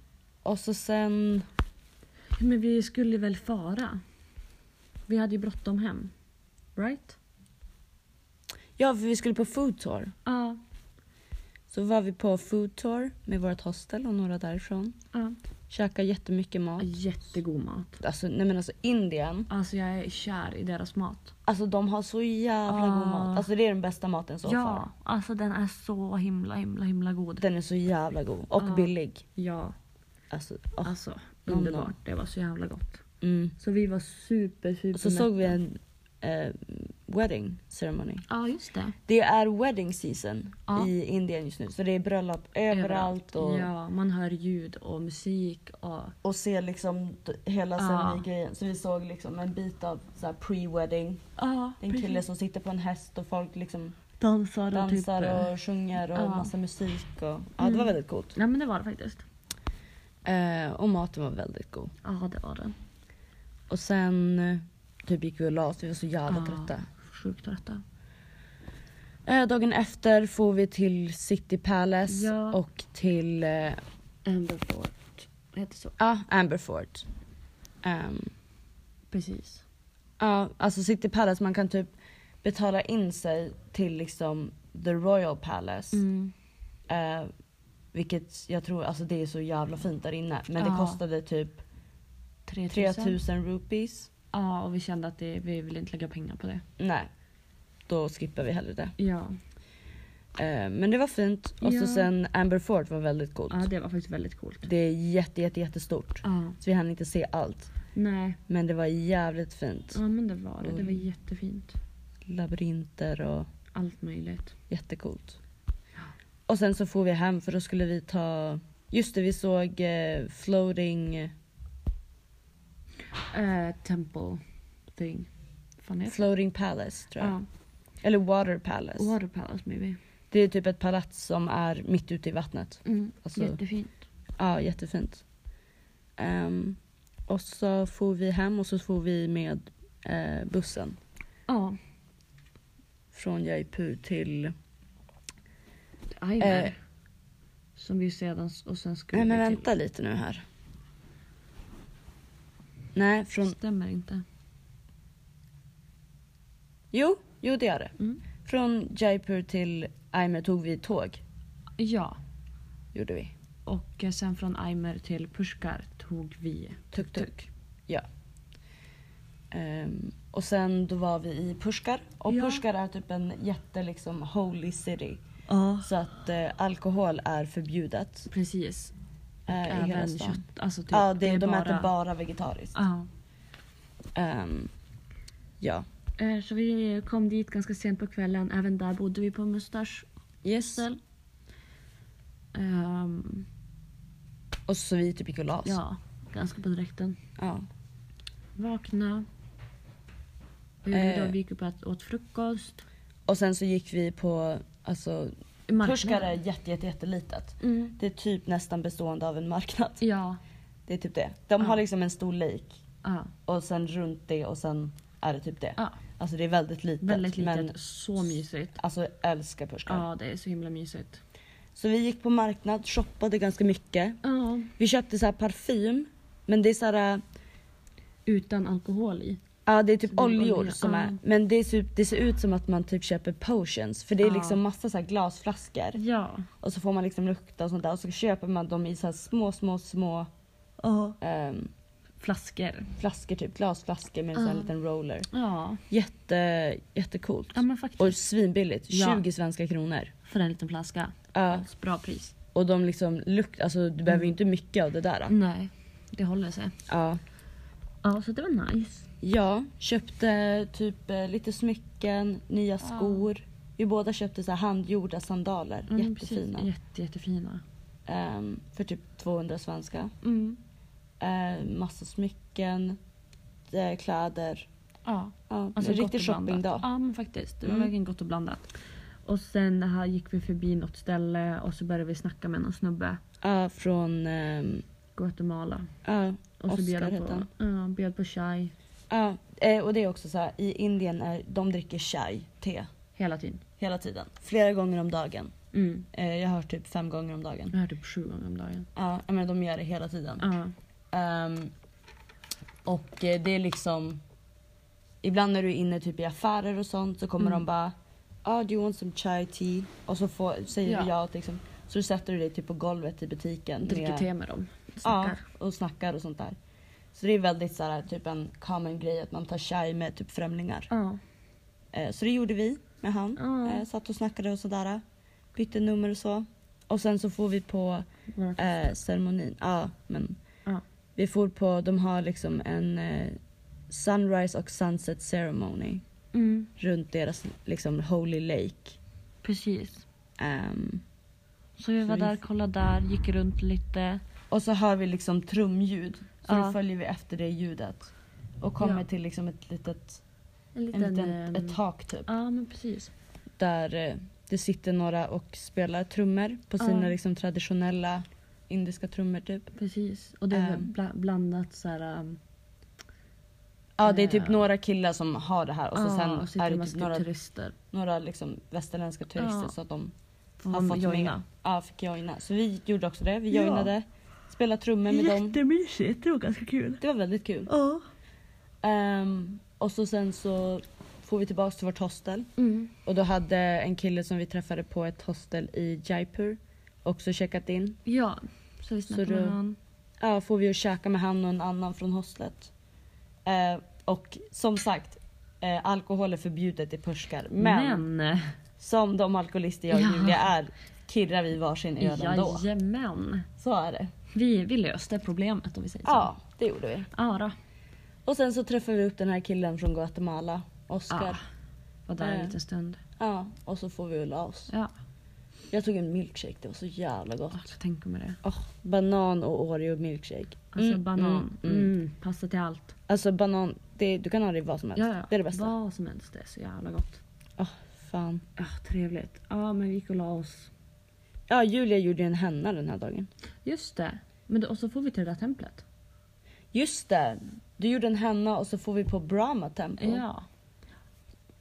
[SPEAKER 1] och så sen...
[SPEAKER 2] Men vi skulle väl fara? Vi hade ju bråttom hem. Right?
[SPEAKER 1] Ja, för vi skulle på food tour.
[SPEAKER 2] Ja.
[SPEAKER 1] Så var vi på food tour med vårt hostel och några därifrån.
[SPEAKER 2] ja.
[SPEAKER 1] Käkade jättemycket mat.
[SPEAKER 2] Jättegod mat.
[SPEAKER 1] Alltså, nej men alltså Indien,
[SPEAKER 2] Alltså jag är kär i deras mat.
[SPEAKER 1] alltså de har så jävla god
[SPEAKER 2] Ah.
[SPEAKER 1] mat. Alltså det är den bästa maten så far.
[SPEAKER 2] ja, alltså den är så himla himla himla god.
[SPEAKER 1] Den är så jävla god och
[SPEAKER 2] Ah.
[SPEAKER 1] billig.
[SPEAKER 2] Ja,
[SPEAKER 1] Alltså, åh.
[SPEAKER 2] alltså
[SPEAKER 1] Nom, nom.
[SPEAKER 2] Underbart. Det var så jävla gott.
[SPEAKER 1] Mm.
[SPEAKER 2] Så vi var super, super
[SPEAKER 1] Och så såg vi en eh, wedding ceremony.
[SPEAKER 2] Ja, just det.
[SPEAKER 1] Det är wedding season
[SPEAKER 2] Ja.
[SPEAKER 1] i Indien just nu så det är bröllop överallt och,
[SPEAKER 2] Ah. Ja, man hör ljud och musik och...
[SPEAKER 1] och ser liksom d- hela
[SPEAKER 2] Ja.
[SPEAKER 1] ceremoni-grejen. Så vi såg liksom en bit av så här pre-wedding.
[SPEAKER 2] Ja,
[SPEAKER 1] Det är en kille som sitter på en häst och folk liksom
[SPEAKER 2] dansar och
[SPEAKER 1] dansar
[SPEAKER 2] typ...
[SPEAKER 1] och sjunger och
[SPEAKER 2] Ja.
[SPEAKER 1] massa musik. Och, ja, det var
[SPEAKER 2] Mm.
[SPEAKER 1] väldigt coolt.
[SPEAKER 2] Ja, men det var det faktiskt.
[SPEAKER 1] Eh, och maten var väldigt god.
[SPEAKER 2] Ja, det var den.
[SPEAKER 1] Och sen eh, typ gick vi och la oss, vi var så jävla
[SPEAKER 2] Ja.
[SPEAKER 1] trötta.
[SPEAKER 2] Sjukt trötta.
[SPEAKER 1] Eh, dagen efter får vi till City Palace
[SPEAKER 2] Ja.
[SPEAKER 1] och till eh,
[SPEAKER 2] Amberfort. Heter så?
[SPEAKER 1] ja, Amberfort. Ehm,
[SPEAKER 2] Precis.
[SPEAKER 1] Ja, alltså City Palace, man kan typ betala in sig till liksom The Royal Palace.
[SPEAKER 2] Mm.
[SPEAKER 1] Eh, vilket jag tror, alltså det är så jävla fint där inne. Men det
[SPEAKER 2] Ja.
[SPEAKER 1] kostade typ
[SPEAKER 2] 3000.
[SPEAKER 1] 3000 rupees.
[SPEAKER 2] Ja, och vi kände att det, vi ville inte lägga pengar på det.
[SPEAKER 1] Nej, då skippar vi hellre det.
[SPEAKER 2] Ja.
[SPEAKER 1] Eh, men det var fint. Och
[SPEAKER 2] Ja.
[SPEAKER 1] så sen Amber Fort var väldigt coolt.
[SPEAKER 2] ja, det var faktiskt väldigt coolt.
[SPEAKER 1] Det är jätte, jätte, jättestort.
[SPEAKER 2] Ja.
[SPEAKER 1] Så vi hann inte se allt.
[SPEAKER 2] Nej,
[SPEAKER 1] Men det var jävligt fint.
[SPEAKER 2] ja men det var det. Det var
[SPEAKER 1] Mm.
[SPEAKER 2] jättefint.
[SPEAKER 1] Labyrinter och
[SPEAKER 2] Allt möjligt.
[SPEAKER 1] Jättecoolt. Och sen så får vi hem för då skulle vi ta... Just det, vi såg eh, floating...
[SPEAKER 2] Eh, temple thing. Fan heter det?
[SPEAKER 1] Floating palace tror jag.
[SPEAKER 2] Ja.
[SPEAKER 1] Eller water palace.
[SPEAKER 2] Water palace maybe.
[SPEAKER 1] Det är typ ett palats som är mitt ute i vattnet.
[SPEAKER 2] Mm.
[SPEAKER 1] Alltså-
[SPEAKER 2] Jättefint.
[SPEAKER 1] Ja, jättefint. Ehm, och så får vi hem och så får vi med eh, bussen
[SPEAKER 2] Ja.
[SPEAKER 1] från Jaipur till...
[SPEAKER 2] Aimer.
[SPEAKER 1] Eh.
[SPEAKER 2] Som vi sedan och sen skulle
[SPEAKER 1] Nej men
[SPEAKER 2] vi
[SPEAKER 1] vänta lite nu här. Nej,
[SPEAKER 2] till.
[SPEAKER 1] från...
[SPEAKER 2] Stämmer inte.
[SPEAKER 1] Jo, jo det gör det.
[SPEAKER 2] Mm.
[SPEAKER 1] Från Jaipur till Aimer tog vi tåg.
[SPEAKER 2] Ja.
[SPEAKER 1] Gjorde vi.
[SPEAKER 2] Och eh, sen från Aimer till Pushkar tog vi
[SPEAKER 1] Tuk-tuk. Ja. Ehm, och sen då var vi i Pushkar. Och
[SPEAKER 2] Ja.
[SPEAKER 1] Pushkar är typ en jätte liksom holy city.
[SPEAKER 2] Ja.
[SPEAKER 1] Så att eh, alkohol är förbjudet
[SPEAKER 2] Precis.
[SPEAKER 1] eh, i hela
[SPEAKER 2] Även
[SPEAKER 1] stan.
[SPEAKER 2] kött. Alltså typ,
[SPEAKER 1] ja, det, de äter bara vegetariskt.
[SPEAKER 2] Ja.
[SPEAKER 1] Ehm, ja.
[SPEAKER 2] Eh, Så vi kom dit ganska sent på kvällen. Även där bodde vi på Mustasch
[SPEAKER 1] Yes.
[SPEAKER 2] hostel. Ehm,
[SPEAKER 1] Och så vi typ gick och la oss.
[SPEAKER 2] ja, ganska på direkten.
[SPEAKER 1] Ja.
[SPEAKER 2] Vakna. Vi, gjorde
[SPEAKER 1] Eh.
[SPEAKER 2] då, vi gick upp och ät- åt frukost.
[SPEAKER 1] Och sen så gick vi på, alltså
[SPEAKER 2] Marknaden.
[SPEAKER 1] Pushkar är jätte, jätte, jättelitet.
[SPEAKER 2] Mm.
[SPEAKER 1] Det är typ nästan bestående av en marknad. *laughs*
[SPEAKER 2] Ja.
[SPEAKER 1] Det är typ det. De
[SPEAKER 2] Ja.
[SPEAKER 1] har liksom en stor lake
[SPEAKER 2] Ja.
[SPEAKER 1] och sen runt det och sen är det typ det.
[SPEAKER 2] ja.
[SPEAKER 1] Alltså det är väldigt litet.
[SPEAKER 2] Väldigt litet.
[SPEAKER 1] Men
[SPEAKER 2] Så mysigt.
[SPEAKER 1] alltså älskar Pushkar.
[SPEAKER 2] Ja, det är så himla mysigt.
[SPEAKER 1] Så vi gick på marknad, shoppade ganska mycket.
[SPEAKER 2] Ja.
[SPEAKER 1] Vi köpte så här parfym. Men det är så här, äh,
[SPEAKER 2] Utan alkohol i.
[SPEAKER 1] ja det är typ
[SPEAKER 2] Så det är
[SPEAKER 1] oljor
[SPEAKER 2] olja,
[SPEAKER 1] som
[SPEAKER 2] ja.
[SPEAKER 1] är. Men det, är typ, det ser ut som att man typ köper potions. För det är
[SPEAKER 2] Ja.
[SPEAKER 1] liksom massa så här glasflaskor.
[SPEAKER 2] Ja.
[SPEAKER 1] Och så får man liksom lukta och sånt där. Och så köper man dem i så här små, små, små
[SPEAKER 2] ja.
[SPEAKER 1] ehm,
[SPEAKER 2] Flaskor.
[SPEAKER 1] flaskor typ. Glasflaskor med en sån här
[SPEAKER 2] Ja.
[SPEAKER 1] liten roller.
[SPEAKER 2] Ja.
[SPEAKER 1] Jätte, jättecoolt.
[SPEAKER 2] ja, men faktiskt.
[SPEAKER 1] Och svinbilligt,
[SPEAKER 2] Ja.
[SPEAKER 1] 20 svenska kronor.
[SPEAKER 2] För en liten flaska.
[SPEAKER 1] Ja,
[SPEAKER 2] Bra pris.
[SPEAKER 1] och de liksom luktar, alltså du behöver ju inte mycket av det där. då.
[SPEAKER 2] Nej, det håller sig.
[SPEAKER 1] Ja.
[SPEAKER 2] Ja, så det var nice.
[SPEAKER 1] ja, köpte typ eh, lite smycken, nya skor. Vi båda köpte så här handgjorda sandaler,
[SPEAKER 2] Mm,
[SPEAKER 1] jättefina.
[SPEAKER 2] precis. Jätte, jättefina.
[SPEAKER 1] Ehm, för typ 200 svenska.
[SPEAKER 2] Mm.
[SPEAKER 1] Uh, massa smycken, eh, kläder.
[SPEAKER 2] Ja.
[SPEAKER 1] Ja,
[SPEAKER 2] Alltså
[SPEAKER 1] en
[SPEAKER 2] gott
[SPEAKER 1] riktig
[SPEAKER 2] och blandat.
[SPEAKER 1] shoppingdag.
[SPEAKER 2] Ja men faktiskt. Det var
[SPEAKER 1] Mm.
[SPEAKER 2] verkligen gott och blandat. Och sen här gick vi förbi något ställe och så började vi snacka med någon snubbe.
[SPEAKER 1] Ja, från... ehm,
[SPEAKER 2] Guatemala.
[SPEAKER 1] ja,
[SPEAKER 2] Och så
[SPEAKER 1] Oscar
[SPEAKER 2] bjöd han
[SPEAKER 1] hette
[SPEAKER 2] på,
[SPEAKER 1] han.
[SPEAKER 2] ja, bjöd på chai
[SPEAKER 1] Ja, eh, och det är också så här, i Indien är, de dricker chai, te,
[SPEAKER 2] hela tiden.
[SPEAKER 1] hela tiden. Flera gånger om dagen.
[SPEAKER 2] Mm.
[SPEAKER 1] Eh, jag har hört typ fem gånger om dagen.
[SPEAKER 2] Jag hör typ sju gånger om dagen.
[SPEAKER 1] Ja, jag menar, de gör det hela tiden.
[SPEAKER 2] Ja.
[SPEAKER 1] Ehm, och eh, det är liksom... Ibland när du är inne typ i affärer och sånt så kommer
[SPEAKER 2] Mm.
[SPEAKER 1] de bara ah do you want some chai tea? Och så får, säger
[SPEAKER 2] Ja.
[SPEAKER 1] du ja. Liksom, så du sätter du dig typ på golvet i butiken.
[SPEAKER 2] Dricker
[SPEAKER 1] med-
[SPEAKER 2] te med dem.
[SPEAKER 1] Ja,
[SPEAKER 2] Snackar.
[SPEAKER 1] och snackar och sånt där. Så det är väldigt så här, typ en common grej att man tar chai med typ främlingar.
[SPEAKER 2] Ja.
[SPEAKER 1] Eh, Så det gjorde vi med han.
[SPEAKER 2] Ja.
[SPEAKER 1] Eh, Satt och snackade och sådär. Bytte nummer och så. Och sen så får vi på
[SPEAKER 2] Våra-
[SPEAKER 1] eh, ceremonin. Ja, men
[SPEAKER 2] Ja.
[SPEAKER 1] Vi for på, de har liksom en eh, sunrise och sunset ceremony
[SPEAKER 2] Mm,
[SPEAKER 1] runt deras liksom holy lake.
[SPEAKER 2] precis.
[SPEAKER 1] Ehm,
[SPEAKER 2] Så vi var där, kollade där, gick runt lite.
[SPEAKER 1] och så hör vi liksom trumljud. Så
[SPEAKER 2] Ja.
[SPEAKER 1] då följer vi efter det ljudet. Och kommer
[SPEAKER 2] Ja.
[SPEAKER 1] till liksom ett litet,
[SPEAKER 2] En
[SPEAKER 1] en
[SPEAKER 2] ehm,
[SPEAKER 1] liten, ett tak typ.
[SPEAKER 2] Ja, men precis.
[SPEAKER 1] Där eh, det sitter några och spelar trummor på
[SPEAKER 2] Ja.
[SPEAKER 1] sina liksom traditionella indiska trummor typ.
[SPEAKER 2] Precis. Och det är
[SPEAKER 1] Ehm.
[SPEAKER 2] bla- blandat så här... um,
[SPEAKER 1] Ja det är typ
[SPEAKER 2] Ja.
[SPEAKER 1] några killar som har det här och så
[SPEAKER 2] ja,
[SPEAKER 1] sen
[SPEAKER 2] Ah, och så
[SPEAKER 1] är
[SPEAKER 2] en
[SPEAKER 1] det
[SPEAKER 2] massa
[SPEAKER 1] typ några,
[SPEAKER 2] turister.
[SPEAKER 1] några liksom västerländska turister
[SPEAKER 2] Ja.
[SPEAKER 1] så att de
[SPEAKER 2] Får
[SPEAKER 1] har
[SPEAKER 2] man
[SPEAKER 1] fått
[SPEAKER 2] joina.
[SPEAKER 1] med. Ja, fick joina. Så vi gjorde också det. Vi
[SPEAKER 2] Ja.
[SPEAKER 1] joinade, spelade trummor med dem.
[SPEAKER 2] Jättemysigt, det var ganska kul.
[SPEAKER 1] Det var väldigt kul.
[SPEAKER 2] Ja.
[SPEAKER 1] Ehm, och så sen så får vi tillbaka till vårt hostel.
[SPEAKER 2] Mm.
[SPEAKER 1] Och då hade en kille som vi träffade på ett hostel i Jaipur också checkat in.
[SPEAKER 2] Ja, så vi snackade
[SPEAKER 1] Så
[SPEAKER 2] med
[SPEAKER 1] då-
[SPEAKER 2] honom.
[SPEAKER 1] Ja, får vi ju käka med han och en annan från hostlet. Eh, och som sagt, eh, alkohol är förbjudet i Pushkar. Men,
[SPEAKER 2] Men
[SPEAKER 1] som de alkoholister jag och
[SPEAKER 2] Ja.
[SPEAKER 1] Julia är kirrar vi varsin öl ändå.
[SPEAKER 2] jajamän.
[SPEAKER 1] Så är det.
[SPEAKER 2] Vi, vi löste problemet om vi säger
[SPEAKER 1] Ja, det gjorde vi.
[SPEAKER 2] så. Ja. då.
[SPEAKER 1] Och sen så träffade vi upp den här killen från Guatemala,
[SPEAKER 2] Ja. Ah.
[SPEAKER 1] Oscar.
[SPEAKER 2] Var där en
[SPEAKER 1] Eh.
[SPEAKER 2] liten stund.
[SPEAKER 1] Ja, och så får vi väl la oss.
[SPEAKER 2] Ja.
[SPEAKER 1] Jag tog en milkshake, det var så jävla gott.
[SPEAKER 2] Alltså, tänk om det.
[SPEAKER 1] Åh, banan och Oreo milkshake.
[SPEAKER 2] Alltså
[SPEAKER 1] Mm,
[SPEAKER 2] banan.
[SPEAKER 1] mm,
[SPEAKER 2] Mm,
[SPEAKER 1] mm.
[SPEAKER 2] Passar till allt.
[SPEAKER 1] Alltså banan, det, du kan ha det i vad som helst.
[SPEAKER 2] Ja, ja.
[SPEAKER 1] Det är det bästa.
[SPEAKER 2] Vad som helst. Det är så jävla gott.
[SPEAKER 1] Åh, fan.
[SPEAKER 2] Ja, trevligt. Ja, men vi gick och la oss.
[SPEAKER 1] Ja, Julia gjorde ju en henna den här dagen.
[SPEAKER 2] Just det. Men då, och så får vi till det där templet.
[SPEAKER 1] Just det, du gjorde en henna och så får vi på Brahma temple.
[SPEAKER 2] Ja.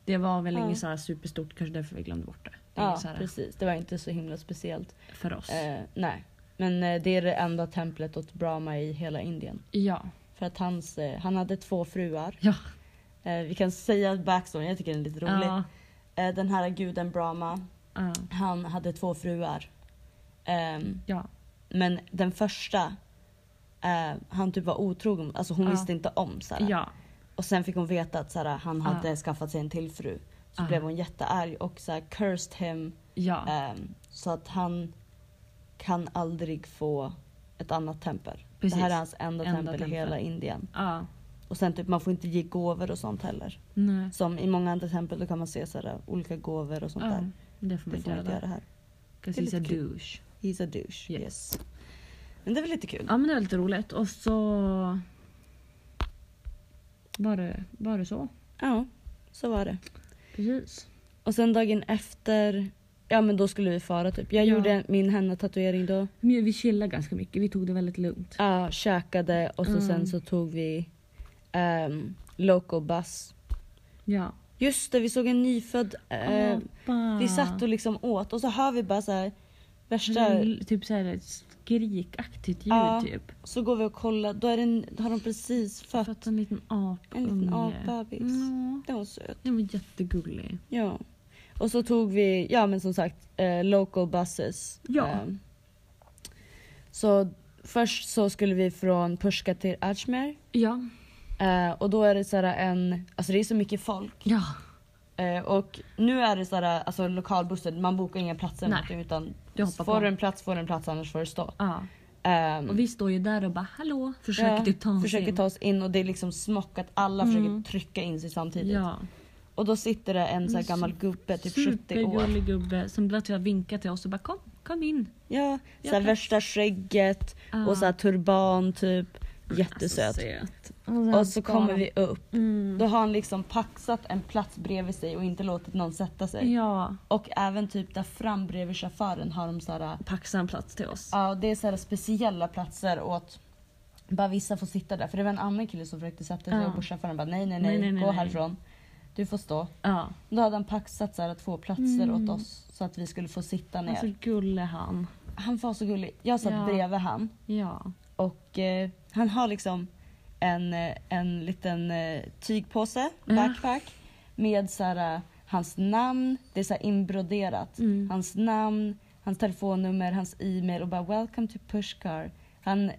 [SPEAKER 2] Det var väl
[SPEAKER 1] Ja.
[SPEAKER 2] inget så här superstort, kanske därför vi glömde bort det. det är
[SPEAKER 1] Ja,
[SPEAKER 2] inget så här
[SPEAKER 1] precis. Det var inte så himla speciellt.
[SPEAKER 2] för oss.
[SPEAKER 1] Eh, nej, men eh, det är det enda templet åt Brahma i hela Indien.
[SPEAKER 2] Ja.
[SPEAKER 1] För att hans, eh, han hade två fruar.
[SPEAKER 2] Ja.
[SPEAKER 1] Eh, vi kan säga backstoryn, jag tycker den är lite rolig.
[SPEAKER 2] Ja.
[SPEAKER 1] Eh, den här guden Brahma,
[SPEAKER 2] Ja.
[SPEAKER 1] han hade två fruar. Ehm,
[SPEAKER 2] ja.
[SPEAKER 1] Men den första, eh, han typ var otrogen, alltså hon
[SPEAKER 2] Ja.
[SPEAKER 1] visste inte om såhär.
[SPEAKER 2] Ja.
[SPEAKER 1] Och sen fick hon veta att såhär, han
[SPEAKER 2] Ja.
[SPEAKER 1] hade skaffat sig en till fru. Så
[SPEAKER 2] Ja.
[SPEAKER 1] blev hon jättearg och såhär, cursed him.
[SPEAKER 2] Ja.
[SPEAKER 1] ehm, så att han kan aldrig få ett annat tempel.
[SPEAKER 2] Precis.
[SPEAKER 1] Det här är hans enda,
[SPEAKER 2] Enda
[SPEAKER 1] tempel i
[SPEAKER 2] tempel.
[SPEAKER 1] hela Indien.
[SPEAKER 2] ja.
[SPEAKER 1] Och sen typ man får inte ge gåvor och sånt heller.
[SPEAKER 2] Nej.
[SPEAKER 1] Som i många andra tempel då kan man se såhär, olika gåvor och sånt
[SPEAKER 2] Ja.
[SPEAKER 1] där.
[SPEAKER 2] Det får man
[SPEAKER 1] Det
[SPEAKER 2] inte
[SPEAKER 1] får man inte göra
[SPEAKER 2] göra.
[SPEAKER 1] här.
[SPEAKER 2] Because
[SPEAKER 1] Det
[SPEAKER 2] he's
[SPEAKER 1] är
[SPEAKER 2] a
[SPEAKER 1] lite kul.
[SPEAKER 2] douche.
[SPEAKER 1] He's a douche. Yes.
[SPEAKER 2] Yes.
[SPEAKER 1] Men det är väl lite kul.
[SPEAKER 2] Ja men det var lite roligt och så var det, var det så.
[SPEAKER 1] ja så var det.
[SPEAKER 2] Precis.
[SPEAKER 1] Och sen dagen efter, ja men då skulle vi fara typ. Jag
[SPEAKER 2] Ja.
[SPEAKER 1] gjorde min henna-tatuering då.
[SPEAKER 2] Men vi chillade ganska mycket, vi tog det väldigt lugnt.
[SPEAKER 1] Ja, käkade och så
[SPEAKER 2] Mm.
[SPEAKER 1] sen så tog vi um, Loco Bus.
[SPEAKER 2] Ja.
[SPEAKER 1] Just det, vi såg en nyfödd. eh,
[SPEAKER 2] Apa.
[SPEAKER 1] vi satt och liksom åt och så hör vi bara så här värsta...
[SPEAKER 2] L- Typ såhär ett skrikaktigt ljud
[SPEAKER 1] Ja.
[SPEAKER 2] typ.
[SPEAKER 1] Så går vi och kollar, då är det en, har de precis
[SPEAKER 2] För
[SPEAKER 1] fött.
[SPEAKER 2] att en liten apa.
[SPEAKER 1] En liten
[SPEAKER 2] unge. Mm.
[SPEAKER 1] apbebis.
[SPEAKER 2] Ja.
[SPEAKER 1] Den var söt.
[SPEAKER 2] Den var jättegullig.
[SPEAKER 1] Ja. Och så tog vi, ja men som sagt, eh, local buses.
[SPEAKER 2] Ja.
[SPEAKER 1] Ehm, så först så skulle vi från Pushka till Ajmer.
[SPEAKER 2] Ja.
[SPEAKER 1] Eh, och då är det såhär en, alltså det är så mycket folk.
[SPEAKER 2] Ja.
[SPEAKER 1] Eh, och nu är det såhär, alltså lokalbussen, man bokar inga platser
[SPEAKER 2] Nej.
[SPEAKER 1] mot det, utan
[SPEAKER 2] Du hoppar
[SPEAKER 1] får
[SPEAKER 2] på.
[SPEAKER 1] du en plats får du en plats annars får du stå.
[SPEAKER 2] ja.
[SPEAKER 1] Ehm,
[SPEAKER 2] Mm. Och vi står ju där och bara hallå. Försöker
[SPEAKER 1] ja,
[SPEAKER 2] typ ta oss
[SPEAKER 1] försöker
[SPEAKER 2] in.
[SPEAKER 1] ta oss in och det är liksom smockat, alla
[SPEAKER 2] Mm.
[SPEAKER 1] försöker trycka in sig samtidigt.
[SPEAKER 2] Ja.
[SPEAKER 1] Och då sitter det en så här
[SPEAKER 2] Mm,
[SPEAKER 1] gammal gubbe, typ 70 år.
[SPEAKER 2] Supergullig gubbe som bara typ vinkar till oss och bara kom, kom in.
[SPEAKER 1] Ja,
[SPEAKER 2] Ja,
[SPEAKER 1] såhär
[SPEAKER 2] tack.
[SPEAKER 1] värsta skägget
[SPEAKER 2] Ja. Alltså,
[SPEAKER 1] och såhär turban typ. Jättesöt. och så kommer vi upp. Då har han liksom paxat en plats bredvid sig och inte låtit någon sätta sig.
[SPEAKER 2] Ja,
[SPEAKER 1] Och även typ där fram bredvid chauffören har de såhär,
[SPEAKER 2] paxa en plats till oss.
[SPEAKER 1] ja det är såhär speciella platser åt bara vissa får sitta där. För det var en annan kille som försökte sätta sig
[SPEAKER 2] Ja.
[SPEAKER 1] och chauffören bara nej nej nej,
[SPEAKER 2] Nej, nej, nej,
[SPEAKER 1] gå
[SPEAKER 2] nej.
[SPEAKER 1] härifrån. Du får stå.
[SPEAKER 2] Ja.
[SPEAKER 1] Då hade han paxat såhär två platser
[SPEAKER 2] Mm.
[SPEAKER 1] åt oss så att vi skulle få sitta ner.
[SPEAKER 2] Alltså gulle han.
[SPEAKER 1] han var så gullig. Jag satt
[SPEAKER 2] Ja.
[SPEAKER 1] bredvid han.
[SPEAKER 2] Ja.
[SPEAKER 1] Och eh, han har liksom en, eh, en liten eh, tygpåse,
[SPEAKER 2] Ja.
[SPEAKER 1] backpack, med så här, eh, hans namn. Det är så här inbroderat.
[SPEAKER 2] Mm.
[SPEAKER 1] Hans namn, hans telefonnummer, hans e-mail och bara “Welcome to Pushcar”. Han,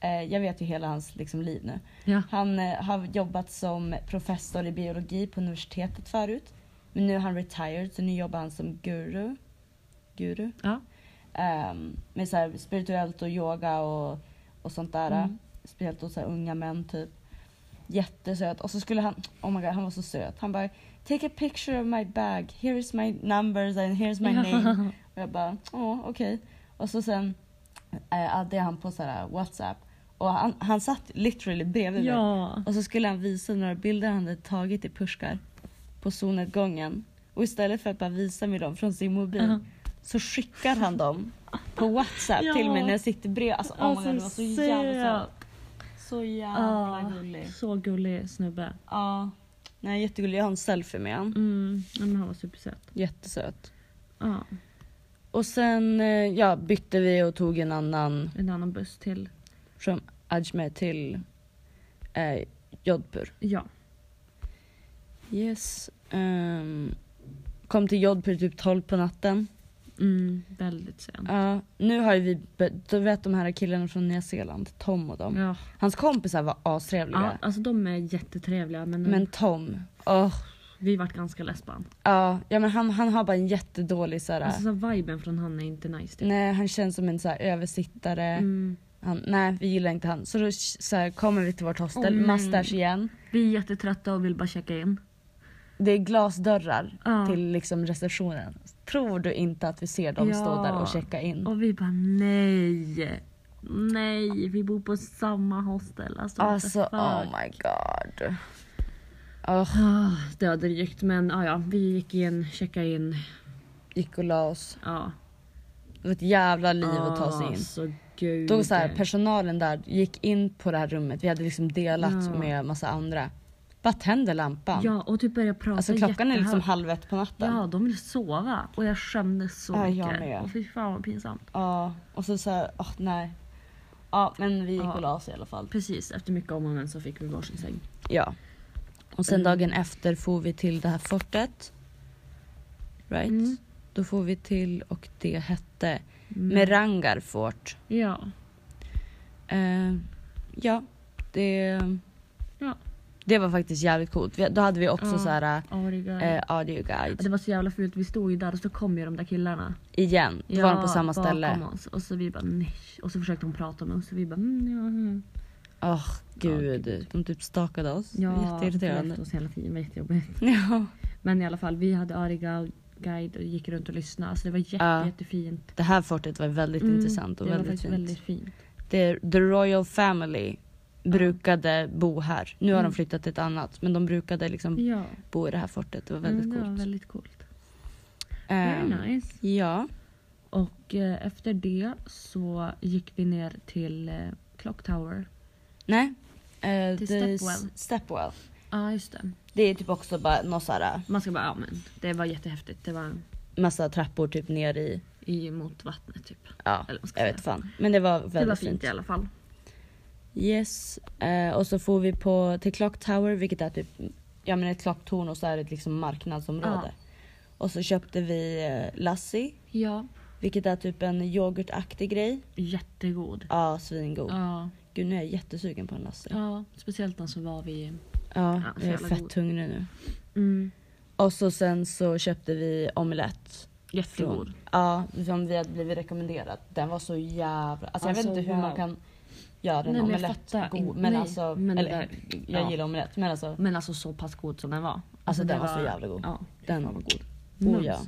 [SPEAKER 1] eh, jag vet ju hela hans liksom, liv nu.
[SPEAKER 2] Ja.
[SPEAKER 1] Han eh, har jobbat som professor i biologi på universitetet förut. Men nu är han retired så nu jobbar han som guru. Guru?
[SPEAKER 2] Ja.
[SPEAKER 1] Ehm, med så här spirituellt och yoga och, och sånt där.
[SPEAKER 2] Mm.
[SPEAKER 1] speciellt åt så här unga män typ. Jättesöt. Och så skulle han, oh my god han var så söt. Han bara “Take a picture of my bag, here is my numbers and here's my
[SPEAKER 2] *laughs*
[SPEAKER 1] name”. Och jag bara “Åh, okej”. Och så sen eh, addade han på så här WhatsApp. Och han, han satt literally bredvid mig.
[SPEAKER 2] Ja.
[SPEAKER 1] Och så skulle han visa några bilder han hade tagit i Pushkar på solnedgången. Och istället för att bara visa mig dem från sin mobil
[SPEAKER 2] Ja.
[SPEAKER 1] så skickar han dem på WhatsApp
[SPEAKER 2] Ja.
[SPEAKER 1] till mig när jag sitter bredvid. Alltså, oh my
[SPEAKER 2] Alltså,
[SPEAKER 1] God, det var så jävla
[SPEAKER 2] söt.
[SPEAKER 1] söt. Så jävla
[SPEAKER 2] Ja.
[SPEAKER 1] gullig.
[SPEAKER 2] Alltså, Så gullig snubbe.
[SPEAKER 1] Ja. Nej, jättegullig. Jag har en selfie med honom.
[SPEAKER 2] Mm, ja, men han var supersöt.
[SPEAKER 1] Jättesöt.
[SPEAKER 2] Ja,
[SPEAKER 1] Och sen eh, ja, bytte vi och tog en annan
[SPEAKER 2] en annan buss till.
[SPEAKER 1] från Ajmer till eh, Jodhpur.
[SPEAKER 2] Ja.
[SPEAKER 1] Yes. ehm, kom till Jodhpur typ 12 på natten.
[SPEAKER 2] Mm, väldigt sen.
[SPEAKER 1] Ja, nu har ju vi, be- du vet de här killarna från Nya Zeeland, Tom och dem.
[SPEAKER 2] Ja.
[SPEAKER 1] Hans kompisar var astrevliga.
[SPEAKER 2] ja, alltså de är jättetrevliga men, eh,
[SPEAKER 1] Men Tom, åh.
[SPEAKER 2] vi vart ganska less på han.
[SPEAKER 1] ja, ja, men han, han har bara en jättedålig såhär,
[SPEAKER 2] Alltså så här, viben från han är inte nice. Typ.
[SPEAKER 1] nej han känns som en såhär översittare.
[SPEAKER 2] Mm.
[SPEAKER 1] Han, nej vi gillar inte han. Så då såhär, kommer vi till vårt hostel,
[SPEAKER 2] Åh, nej.
[SPEAKER 1] mustasch igen.
[SPEAKER 2] Vi är jättetrötta och vill bara checka in.
[SPEAKER 1] Det är glasdörrar
[SPEAKER 2] Ja.
[SPEAKER 1] till liksom receptionen. Tror du inte att vi ser dem stå
[SPEAKER 2] Ja.
[SPEAKER 1] där och checka in?
[SPEAKER 2] Och vi bara nej. Nej, vi bor på samma hostel. Alltså, what the
[SPEAKER 1] Alltså
[SPEAKER 2] fuck.
[SPEAKER 1] oh my god. Oh,
[SPEAKER 2] Ah, det var drygt men ja, ja, vi gick in, checkade in.
[SPEAKER 1] gick och la oss.
[SPEAKER 2] Ja.
[SPEAKER 1] Det var ett jävla liv att ta sig in.
[SPEAKER 2] Alltså gud.
[SPEAKER 1] Då så här, personalen där gick in på det här rummet, vi hade liksom delat
[SPEAKER 2] Ja.
[SPEAKER 1] med massa andra. Bara tände lampan.
[SPEAKER 2] Ja och typ började prata
[SPEAKER 1] alltså klockan är liksom
[SPEAKER 2] jättehögt.
[SPEAKER 1] halv ett på natten.
[SPEAKER 2] Ja, de ville sova och jag skämdes så
[SPEAKER 1] Ja, jag
[SPEAKER 2] mycket.
[SPEAKER 1] med.
[SPEAKER 2] Och fy fan vad pinsamt.
[SPEAKER 1] Ja, Och så såhär, åh nej. Ja men vi gick
[SPEAKER 2] Ja.
[SPEAKER 1] och la oss i alla fall.
[SPEAKER 2] Precis, efter mycket om och men så fick vi varsin säng.
[SPEAKER 1] Ja. Och sen
[SPEAKER 2] Mm.
[SPEAKER 1] dagen efter får vi till det här fortet. Right?
[SPEAKER 2] Mm.
[SPEAKER 1] Då får vi till och det hette Merangar fort.
[SPEAKER 2] Ja.
[SPEAKER 1] Eh, ja, det,
[SPEAKER 2] Ja.
[SPEAKER 1] det var faktiskt jävligt coolt. Vi, då hade vi också
[SPEAKER 2] Ja.
[SPEAKER 1] så här
[SPEAKER 2] Ariga.
[SPEAKER 1] eh, audio guide
[SPEAKER 2] Det var så jävla fult, vi stod ju där och så kom ju de där killarna.
[SPEAKER 1] igen. Då var de på samma
[SPEAKER 2] bakom
[SPEAKER 1] ställe.
[SPEAKER 2] Oss. Och så vi bara nej. Och så försökte de prata med oss och vi bara mm, ja, ja.
[SPEAKER 1] Åh gud, de typ stakade oss. Jätteirriterande.
[SPEAKER 2] Oss hela tiden, det var jättejobbigt.
[SPEAKER 1] Ja.
[SPEAKER 2] Men i alla fall, vi hade Ariga guide och gick runt och lyssnade. Alltså det var jätte,
[SPEAKER 1] Ja.
[SPEAKER 2] jättefint.
[SPEAKER 1] Det här fortet var väldigt
[SPEAKER 2] Mm,
[SPEAKER 1] intressant och
[SPEAKER 2] det var
[SPEAKER 1] väldigt
[SPEAKER 2] faktiskt
[SPEAKER 1] fint.
[SPEAKER 2] väldigt fint.
[SPEAKER 1] Det, the Royal Family brukade bo här. Nu har
[SPEAKER 2] Mm.
[SPEAKER 1] de flyttat till ett annat men de brukade liksom
[SPEAKER 2] Ja,
[SPEAKER 1] bo i det här fortet. Det var väldigt
[SPEAKER 2] mm, det var
[SPEAKER 1] coolt.
[SPEAKER 2] väldigt coolt.
[SPEAKER 1] Ehm,
[SPEAKER 2] Very nice.
[SPEAKER 1] Ja.
[SPEAKER 2] Och eh, efter det så gick vi ner till eh, Clock Tower.
[SPEAKER 1] Nej. Eh,
[SPEAKER 2] Till
[SPEAKER 1] det är s-
[SPEAKER 2] Stepwell.
[SPEAKER 1] Stepwell.
[SPEAKER 2] Ja, just det.
[SPEAKER 1] Det är typ också bara någon så här
[SPEAKER 2] Man ska bara, ja men det var jättehäftigt. Det var
[SPEAKER 1] massa trappor typ ner i.
[SPEAKER 2] i, mot vattnet typ.
[SPEAKER 1] Ja,
[SPEAKER 2] Eller vad ska
[SPEAKER 1] jag
[SPEAKER 2] jag
[SPEAKER 1] vet
[SPEAKER 2] säga.
[SPEAKER 1] fan. Men det var väldigt
[SPEAKER 2] Det var fint,
[SPEAKER 1] fint.
[SPEAKER 2] i alla fall.
[SPEAKER 1] Yes. Eh, och så får vi på, till Clock Tower vilket är typ ja, men ett klocktorn och så är det ett liksom marknadsområde. Och så köpte vi eh, lassi
[SPEAKER 2] Ja.
[SPEAKER 1] vilket är typ en yoghurtaktig grej.
[SPEAKER 2] Jättegod.
[SPEAKER 1] Ja, svingod.
[SPEAKER 2] Ja,
[SPEAKER 1] Gud nu är jag jättesugen på en lassi.
[SPEAKER 2] Oh. ja. speciellt den som var vid...
[SPEAKER 1] Ja,
[SPEAKER 2] så
[SPEAKER 1] jag är
[SPEAKER 2] jävla
[SPEAKER 1] fett
[SPEAKER 2] god.
[SPEAKER 1] hungrig nu.
[SPEAKER 2] Mm.
[SPEAKER 1] Och så sen så köpte vi omelett.
[SPEAKER 2] Jättegod.
[SPEAKER 1] Från, ja, som vi hade blivit rekommenderad. Den var så jävla... Alltså, jag vet
[SPEAKER 2] Alltså,
[SPEAKER 1] inte hur
[SPEAKER 2] wow.
[SPEAKER 1] man kan göra en
[SPEAKER 2] Nej, men jag
[SPEAKER 1] omelett
[SPEAKER 2] fattar
[SPEAKER 1] god.
[SPEAKER 2] inte.
[SPEAKER 1] Men
[SPEAKER 2] Nej,
[SPEAKER 1] alltså,
[SPEAKER 2] men det
[SPEAKER 1] eller,
[SPEAKER 2] där-
[SPEAKER 1] jag
[SPEAKER 2] ja.
[SPEAKER 1] gillar omelett men alltså,
[SPEAKER 2] Men alltså så pass god som den var. Alltså,
[SPEAKER 1] den
[SPEAKER 2] det
[SPEAKER 1] var så jävla god.
[SPEAKER 2] Ja,
[SPEAKER 1] den
[SPEAKER 2] fan
[SPEAKER 1] var
[SPEAKER 2] vad
[SPEAKER 1] god.
[SPEAKER 2] Mums.
[SPEAKER 1] Oh, ja.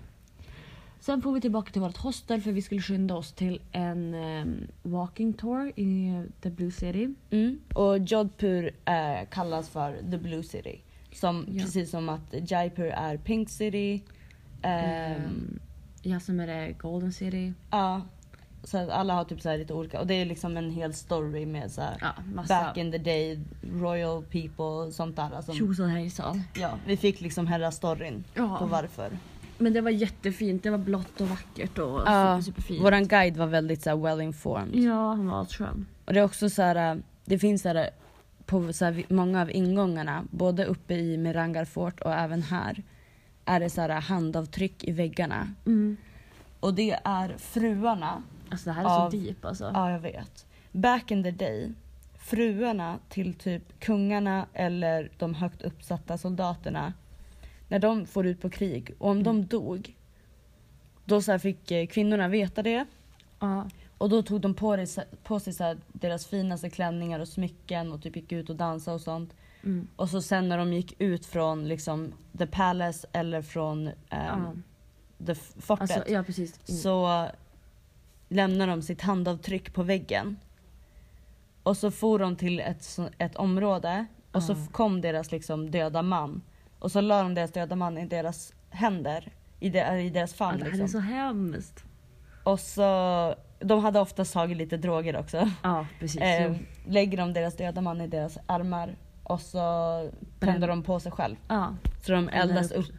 [SPEAKER 2] Sen får vi tillbaka till vårt hostel för vi skulle skynda oss till en ehm, walking tour i eh, The Blue City.
[SPEAKER 1] Mm. Och Jodhpur eh, kallas för the blue city. Som,
[SPEAKER 2] Ja.
[SPEAKER 1] Precis som att Jaipur är pink city. Ehm,
[SPEAKER 2] Ehm, ja, som är det Golden City.
[SPEAKER 1] Ja. Så att alla har typ så här lite olika och det är liksom en hel story med så här,
[SPEAKER 2] Ja, alltså. massa
[SPEAKER 1] back in the day, royal people, sånt där. Alltså,
[SPEAKER 2] tjosan hejsan.
[SPEAKER 1] ja, vi fick liksom hela storyn på
[SPEAKER 2] Ja,
[SPEAKER 1] varför.
[SPEAKER 2] men det var jättefint. Det var blått och vackert och
[SPEAKER 1] Ja,
[SPEAKER 2] super, superfint.
[SPEAKER 1] Våran guide var väldigt så här, well informed.
[SPEAKER 2] Ja, han var asskön.
[SPEAKER 1] Och det är också så här, äh, det finns så här, äh, på så här, vi- många av ingångarna, både uppe i Mirangar fort och även här, är det så här äh, handavtryck i väggarna.
[SPEAKER 2] Mm.
[SPEAKER 1] Och det är fruarna,
[SPEAKER 2] Alltså det här är
[SPEAKER 1] Av-
[SPEAKER 2] så deep alltså.
[SPEAKER 1] ja jag vet, back in the day, fruarna till typ kungarna eller de högt uppsatta soldaterna, när de får ut på krig och om de dog, då så här fick eh, kvinnorna veta äh, det
[SPEAKER 2] Ja.
[SPEAKER 1] Och då tog de på, det, på sig så här, deras finaste klänningar och smycken och typ gick ut och dansade och sånt.
[SPEAKER 2] Mm.
[SPEAKER 1] Och så sen när de gick ut från liksom the palace eller från ehm,
[SPEAKER 2] Ja.
[SPEAKER 1] the f- fortet.
[SPEAKER 2] Alltså, ja precis. Mm.
[SPEAKER 1] så lämnar de sitt handavtryck på väggen. Och så for de till ett, så- ett område och så
[SPEAKER 2] Ah.
[SPEAKER 1] f- kom deras liksom döda man. Och så la de deras döda man i deras händer, i, de, i deras
[SPEAKER 2] ja,
[SPEAKER 1] famn.
[SPEAKER 2] det här är
[SPEAKER 1] liksom.
[SPEAKER 2] så hemskt.
[SPEAKER 1] Och så, de hade oftast tagit lite droger också.
[SPEAKER 2] Ja precis.
[SPEAKER 1] Eh,
[SPEAKER 2] jo.
[SPEAKER 1] lägger de deras döda man i deras armar och så tänder de på sig själv.
[SPEAKER 2] Ja,
[SPEAKER 1] Så de
[SPEAKER 2] Eldar
[SPEAKER 1] eldas
[SPEAKER 2] upp
[SPEAKER 1] upp,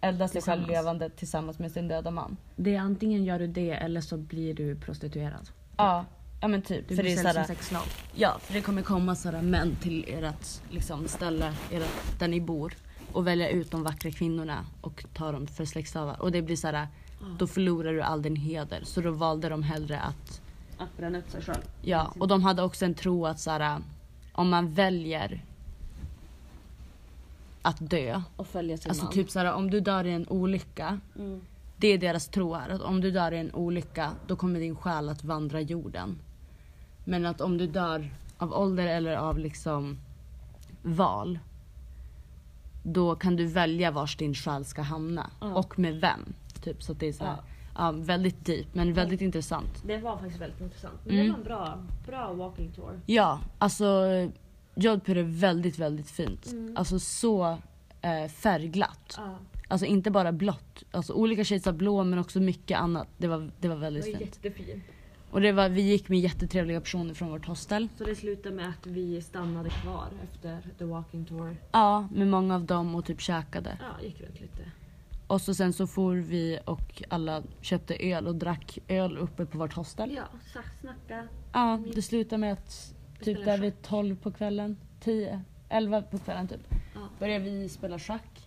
[SPEAKER 1] eldas sig själv
[SPEAKER 2] tillsammans.
[SPEAKER 1] levande tillsammans Typ. med sin döda man.
[SPEAKER 2] det är antingen gör du det eller så blir du prostituerad.
[SPEAKER 1] Ja, ja men typ.
[SPEAKER 2] Du
[SPEAKER 1] för det
[SPEAKER 2] blir
[SPEAKER 1] är
[SPEAKER 2] säljs
[SPEAKER 1] såhär,
[SPEAKER 2] som sexslav.
[SPEAKER 1] Ja, för det kommer komma sådana män till ert liksom, ställe, ert, där ni bor och välja ut de vackra kvinnorna och ta dem för släktslavar. Och det blir såhär, då förlorar du all din heder. Så då valde de hellre att,
[SPEAKER 2] Att bränna upp sig själv.
[SPEAKER 1] ja. Och de hade också en tro att såhär, om man väljer att dö.
[SPEAKER 2] Och följa sin
[SPEAKER 1] Alltså
[SPEAKER 2] man.
[SPEAKER 1] typ såhär, om du dör i en olycka.
[SPEAKER 2] Mm.
[SPEAKER 1] Det är deras tro är att om du dör i en olycka då kommer din själ att vandra jorden. Men att om du dör av ålder eller av liksom val då kan du välja vars din själ ska hamna
[SPEAKER 2] Ja.
[SPEAKER 1] och med vem. Typ så att det är så här, ja. väldigt deep men väldigt intressant.
[SPEAKER 4] Det var faktiskt väldigt intressant. Men
[SPEAKER 1] Mm.
[SPEAKER 4] det var en bra, bra walking tour.
[SPEAKER 1] Ja, alltså Jodhpur är väldigt, väldigt fint. Alltså så eh, färgglatt.
[SPEAKER 4] Ja,
[SPEAKER 1] Alltså inte bara blått, alltså olika shades av blå men också mycket annat. Det var, det var
[SPEAKER 4] det var
[SPEAKER 1] väldigt fint.
[SPEAKER 4] jättefint.
[SPEAKER 1] Och det var, vi gick med jättetrevliga personer från vårt hostel.
[SPEAKER 4] Så det slutade med att vi stannade kvar efter the walking tour.
[SPEAKER 1] Ja, med många av dem och typ käkade.
[SPEAKER 4] Ja, gick runt lite.
[SPEAKER 1] Och så sen så for vi och alla köpte öl och drack öl uppe på vårt hostel.
[SPEAKER 4] Ja, sa- snacka.
[SPEAKER 1] Ja, det slutade med att typ där vid 12 på kvällen, 10, 11 på kvällen typ.
[SPEAKER 4] Ja.
[SPEAKER 1] Började vi spela schack.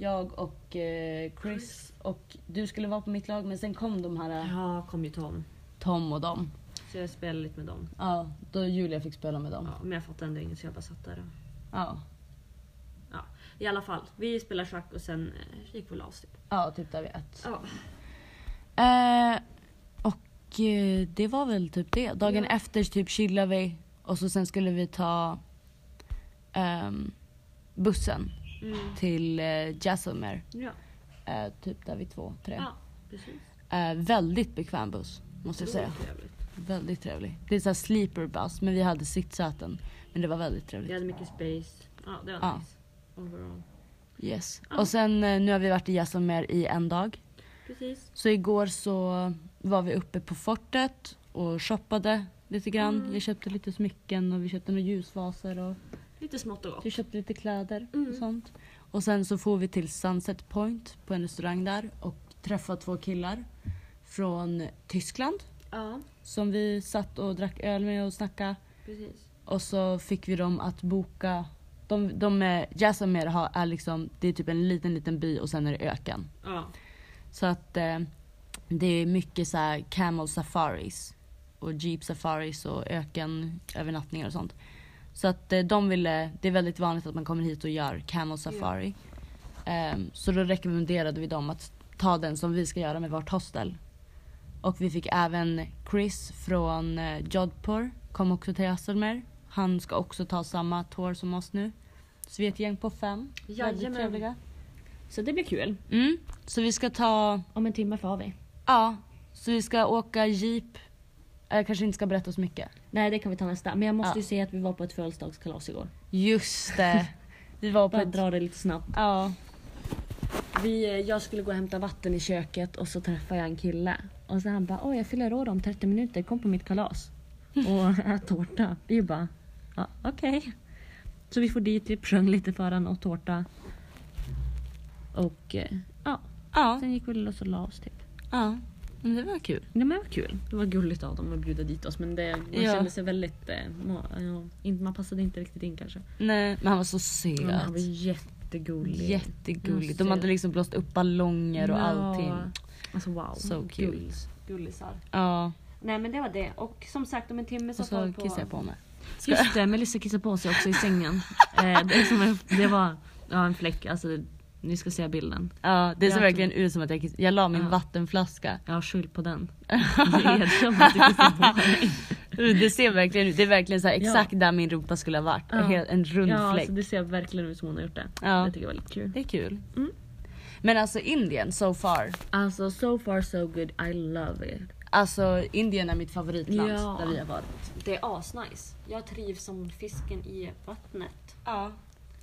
[SPEAKER 1] Jag och eh, Chris och du skulle vara på mitt lag men sen kom de här eh,
[SPEAKER 4] Ja, kom ju Tom.
[SPEAKER 1] Tom och dem.
[SPEAKER 4] Så jag spelade lite med dem.
[SPEAKER 1] Ja, då Julia fick spela med dem.
[SPEAKER 4] Ja, men jag fattade ändå inget så jag bara satt där och...
[SPEAKER 1] Ja,
[SPEAKER 4] Ja, i alla fall. Vi spelade schack och sen eh, gick vi och la oss. typ.
[SPEAKER 1] ja typ där vid ett.
[SPEAKER 4] Ja,
[SPEAKER 1] Eh, och eh, det var väl typ det. Dagen
[SPEAKER 4] Ja.
[SPEAKER 1] efter typ chillade vi och så sen skulle vi ta ehm, bussen
[SPEAKER 4] mm.
[SPEAKER 1] till eh, Jasselmer.
[SPEAKER 4] ja.
[SPEAKER 1] Eh, typ där vid två, tre.
[SPEAKER 4] ja precis.
[SPEAKER 1] Eh, väldigt bekväm buss måste
[SPEAKER 4] Det
[SPEAKER 1] jag
[SPEAKER 4] var
[SPEAKER 1] säga.
[SPEAKER 4] trevligt.
[SPEAKER 1] Väldigt trevlig. Det är såhär sleeper bus men vi hade sittsäten. Men det var väldigt
[SPEAKER 4] Vi
[SPEAKER 1] trevligt.
[SPEAKER 4] hade mycket space. Ja, det var
[SPEAKER 1] Ja.
[SPEAKER 4] nice. Overall.
[SPEAKER 1] Yes.
[SPEAKER 4] Ja.
[SPEAKER 1] Och sen eh, nu har vi varit i Jasselmer i en dag.
[SPEAKER 4] Precis.
[SPEAKER 1] Så igår så var vi uppe på fortet och shoppade lite grann. Jag köpte lite smycken och vi köpte några ljusvaser och
[SPEAKER 4] Lite smått och gott.
[SPEAKER 1] du köpte lite kläder
[SPEAKER 4] Mm.
[SPEAKER 1] och sånt. Och sen så får vi till Sunset Point på en restaurang där och träffade två killar från Tyskland
[SPEAKER 4] Ja,
[SPEAKER 1] som vi satt och drack öl med och snackade.
[SPEAKER 4] precis.
[SPEAKER 1] Och så fick vi dem att boka de, de är, Jasmir har, är liksom, det är typ en liten liten by och sen är det öken.
[SPEAKER 4] Ja.
[SPEAKER 1] Så att eh, det är mycket så här camel safaris och jeep safaris och ökenövernattningar och sånt. Så att eh, de ville, det är väldigt vanligt att man kommer hit och gör camel safari. Ehm, så då rekommenderade vi dem att ta den som vi ska göra med vårt hostel. Och vi fick även Chris från eh, Jodhpur, kom också till Asselmer. Han ska också ta samma tour som oss nu. Så vi är ett gäng på fem. Väldigt
[SPEAKER 4] Jajamän.
[SPEAKER 1] trevliga.
[SPEAKER 2] Så det blir kul.
[SPEAKER 1] Mm. Så vi ska ta
[SPEAKER 2] Om en timme får vi.
[SPEAKER 1] Ja, så vi ska åka jeep. Jag kanske inte ska berätta så mycket.
[SPEAKER 2] Nej det kan vi ta nästa. Men jag måste
[SPEAKER 1] Ja.
[SPEAKER 2] ju säga att vi var på ett födelsedagskalas igår.
[SPEAKER 1] Just det. *laughs* Vi var på
[SPEAKER 2] Bara
[SPEAKER 1] ett...
[SPEAKER 2] dra det lite snabbt.
[SPEAKER 1] Ja.
[SPEAKER 2] Vi, eh, jag skulle gå och hämta vatten i köket och så träffade jag en kille. Och så han bara åh jag fyller år om 30 minuter, kom på mitt *laughs* kalas. Och *laughs* ät tårta. Vi bara ja, okej. Så vi får dit, vi sjöng lite för han och tårta. Och eh, ja,
[SPEAKER 1] Ja.
[SPEAKER 2] sen gick vi och så la oss typ.
[SPEAKER 1] ja. Men det var kul.
[SPEAKER 2] Ja, men det var kul. Det var gulligt av dem att bjuda dit oss men det, man
[SPEAKER 1] Ja.
[SPEAKER 2] kände sig väldigt... Eh, ma- ja, inte, man passade inte riktigt in kanske.
[SPEAKER 1] Nej, men han var så
[SPEAKER 2] Ja, men han var
[SPEAKER 1] söt.
[SPEAKER 2] jättegullig.
[SPEAKER 1] Jättegullig.
[SPEAKER 2] Måste-
[SPEAKER 1] De hade liksom blåst upp ballonger och
[SPEAKER 2] Ja.
[SPEAKER 1] allting.
[SPEAKER 2] Alltså wow.
[SPEAKER 1] So cute.
[SPEAKER 2] Gullis. Gullisar.
[SPEAKER 1] Ja.
[SPEAKER 4] Nej men det var det. Och som sagt om en timme så,
[SPEAKER 1] Och
[SPEAKER 4] får vi
[SPEAKER 1] så kissade jag på mig.
[SPEAKER 2] Just det, Melissa kissade på sig också i sängen. eh, det, är som en, det var ja, en fläck, alltså
[SPEAKER 5] Nu ska jag se bilden.
[SPEAKER 1] Ja, det
[SPEAKER 5] Jag
[SPEAKER 1] såg verkligen ut som att jag kissade. Jag la min
[SPEAKER 5] Ja.
[SPEAKER 1] *laughs* vattenflaska.
[SPEAKER 5] Ja, skyll på den. Erkänn att du kissade på mig.
[SPEAKER 1] Det ser verkligen ut. Det är verkligen så här, exakt där min rumpa skulle ha varit.
[SPEAKER 5] Ja.
[SPEAKER 1] En hel- En *laughs* rund
[SPEAKER 5] Ja,
[SPEAKER 1] fläck.
[SPEAKER 5] alltså, det ser verkligen ut som hon har gjort det.
[SPEAKER 1] Ja.
[SPEAKER 5] Jag tycker det var lite kul.
[SPEAKER 1] Det är kul.
[SPEAKER 5] Mm.
[SPEAKER 1] Men alltså Indien so far.
[SPEAKER 5] Alltså so far so good, I love it.
[SPEAKER 1] Alltså Indien är mitt favoritland
[SPEAKER 5] Ja.
[SPEAKER 1] där vi har varit.
[SPEAKER 2] Det är asnice. Jag trivs som fisken i vattnet.
[SPEAKER 1] Ja.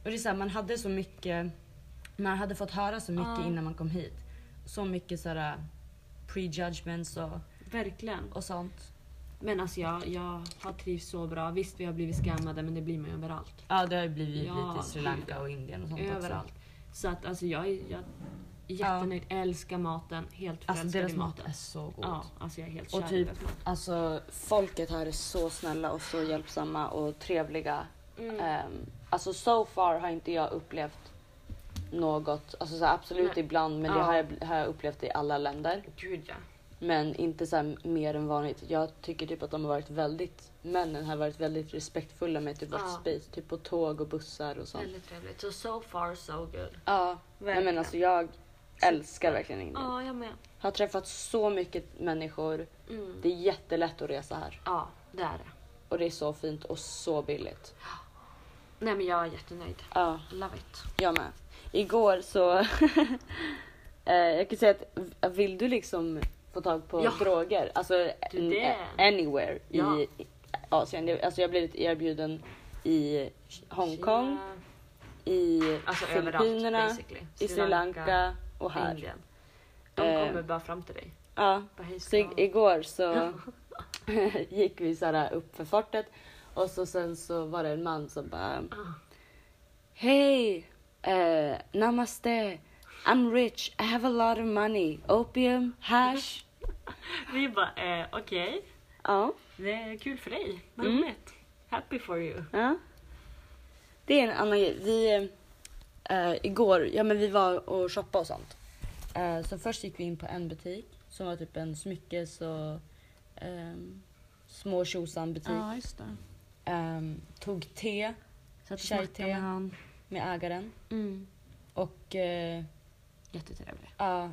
[SPEAKER 1] Och det är så här, man hade så mycket, man hade fått höra så mycket
[SPEAKER 2] Ja.
[SPEAKER 1] innan man kom hit. Så mycket sådär prejudgments och,
[SPEAKER 2] Verkligen.
[SPEAKER 1] och sånt.
[SPEAKER 2] Men alltså jag, jag har trivts så bra. Visst vi har blivit scammade men det blir man ju överallt.
[SPEAKER 1] Ja det har ju blivit
[SPEAKER 2] Ja,
[SPEAKER 1] lite i Sri Lanka och Indien och sånt
[SPEAKER 2] Överallt.
[SPEAKER 1] också.
[SPEAKER 2] Så att alltså jag, är- jag är jättenöjd. Älskar maten. Helt
[SPEAKER 1] Alltså
[SPEAKER 2] förälskad
[SPEAKER 1] deras
[SPEAKER 2] i
[SPEAKER 1] mat
[SPEAKER 2] maten.
[SPEAKER 1] är så god.
[SPEAKER 2] Ja, alltså jag är helt kär
[SPEAKER 1] Och
[SPEAKER 2] i
[SPEAKER 1] typ,
[SPEAKER 2] deras mat.
[SPEAKER 1] alltså folket här är så snälla och så hjälpsamma och trevliga.
[SPEAKER 2] Mm.
[SPEAKER 1] Ehm, alltså so far har inte jag upplevt något, alltså så här, absolut
[SPEAKER 2] Nej.
[SPEAKER 1] ibland men det
[SPEAKER 2] Ja.
[SPEAKER 1] har jag, har jag upplevt i alla länder.
[SPEAKER 2] Gud ja.
[SPEAKER 1] Men inte så här, mer än vanligt. Jag tycker typ att de har varit väldigt, männen har varit väldigt respektfulla med typ vårt
[SPEAKER 2] Ja.
[SPEAKER 1] space, typ på tåg och bussar och sånt.
[SPEAKER 2] Väldigt trevligt. Så so far so good.
[SPEAKER 1] Ja, Nej, men
[SPEAKER 2] Verkligen.
[SPEAKER 1] alltså jag älskar verkligen Indien.
[SPEAKER 2] Ja, jag med.
[SPEAKER 1] Har träffat så mycket människor.
[SPEAKER 2] Mm.
[SPEAKER 1] Det är jättelätt att resa här.
[SPEAKER 2] Ja, det är det.
[SPEAKER 1] Och det är så fint och så billigt.
[SPEAKER 2] Nej men jag är jättenöjd.
[SPEAKER 1] Ja,
[SPEAKER 2] Love it.
[SPEAKER 1] jag med. Igår så... *laughs* eh, jag kan säga att v- vill du liksom få tag på
[SPEAKER 2] Ja.
[SPEAKER 1] droger, alltså
[SPEAKER 2] Du, det-
[SPEAKER 1] an- anywhere
[SPEAKER 2] Ja.
[SPEAKER 1] i i Asien. Det- Alltså jag blev erbjuden i Hongkong,
[SPEAKER 2] Kina,
[SPEAKER 1] i
[SPEAKER 2] Alltså
[SPEAKER 1] Filippinerna,
[SPEAKER 2] överallt basically.
[SPEAKER 1] i Sri Lanka och här.
[SPEAKER 2] Indien. De
[SPEAKER 1] Eh.
[SPEAKER 2] kommer bara fram till dig.
[SPEAKER 1] Ja.
[SPEAKER 2] Bara, "Hej,
[SPEAKER 1] Så
[SPEAKER 2] ska du
[SPEAKER 1] i-
[SPEAKER 2] ha något?"
[SPEAKER 1] igår så *laughs* gick vi så här upp för fortet och så sen så var det en man som bara
[SPEAKER 2] Ah.
[SPEAKER 1] Hej! eh, namaste! I'm rich, I have a lot of money. Opium, hash.
[SPEAKER 2] *laughs* Vi bara, eh, okej.
[SPEAKER 1] Ja,
[SPEAKER 2] Det är kul för dig. Vad
[SPEAKER 1] Mm.
[SPEAKER 2] roligt. Happy for you.
[SPEAKER 1] ja. Det är en annan grej. Vi, eh, igår, ja men vi var och shoppade och sånt. Eh, så först gick vi in på en butik som var typ en smyckes och um, små tjosan butik.
[SPEAKER 2] Typ.
[SPEAKER 5] just det.
[SPEAKER 1] Ehm, tog te
[SPEAKER 5] Så att
[SPEAKER 1] Chai
[SPEAKER 5] snacka med
[SPEAKER 1] tea.
[SPEAKER 5] han.
[SPEAKER 1] med ägaren
[SPEAKER 5] Mm.
[SPEAKER 1] och eh,
[SPEAKER 5] Jättetrevlig.
[SPEAKER 1] ja,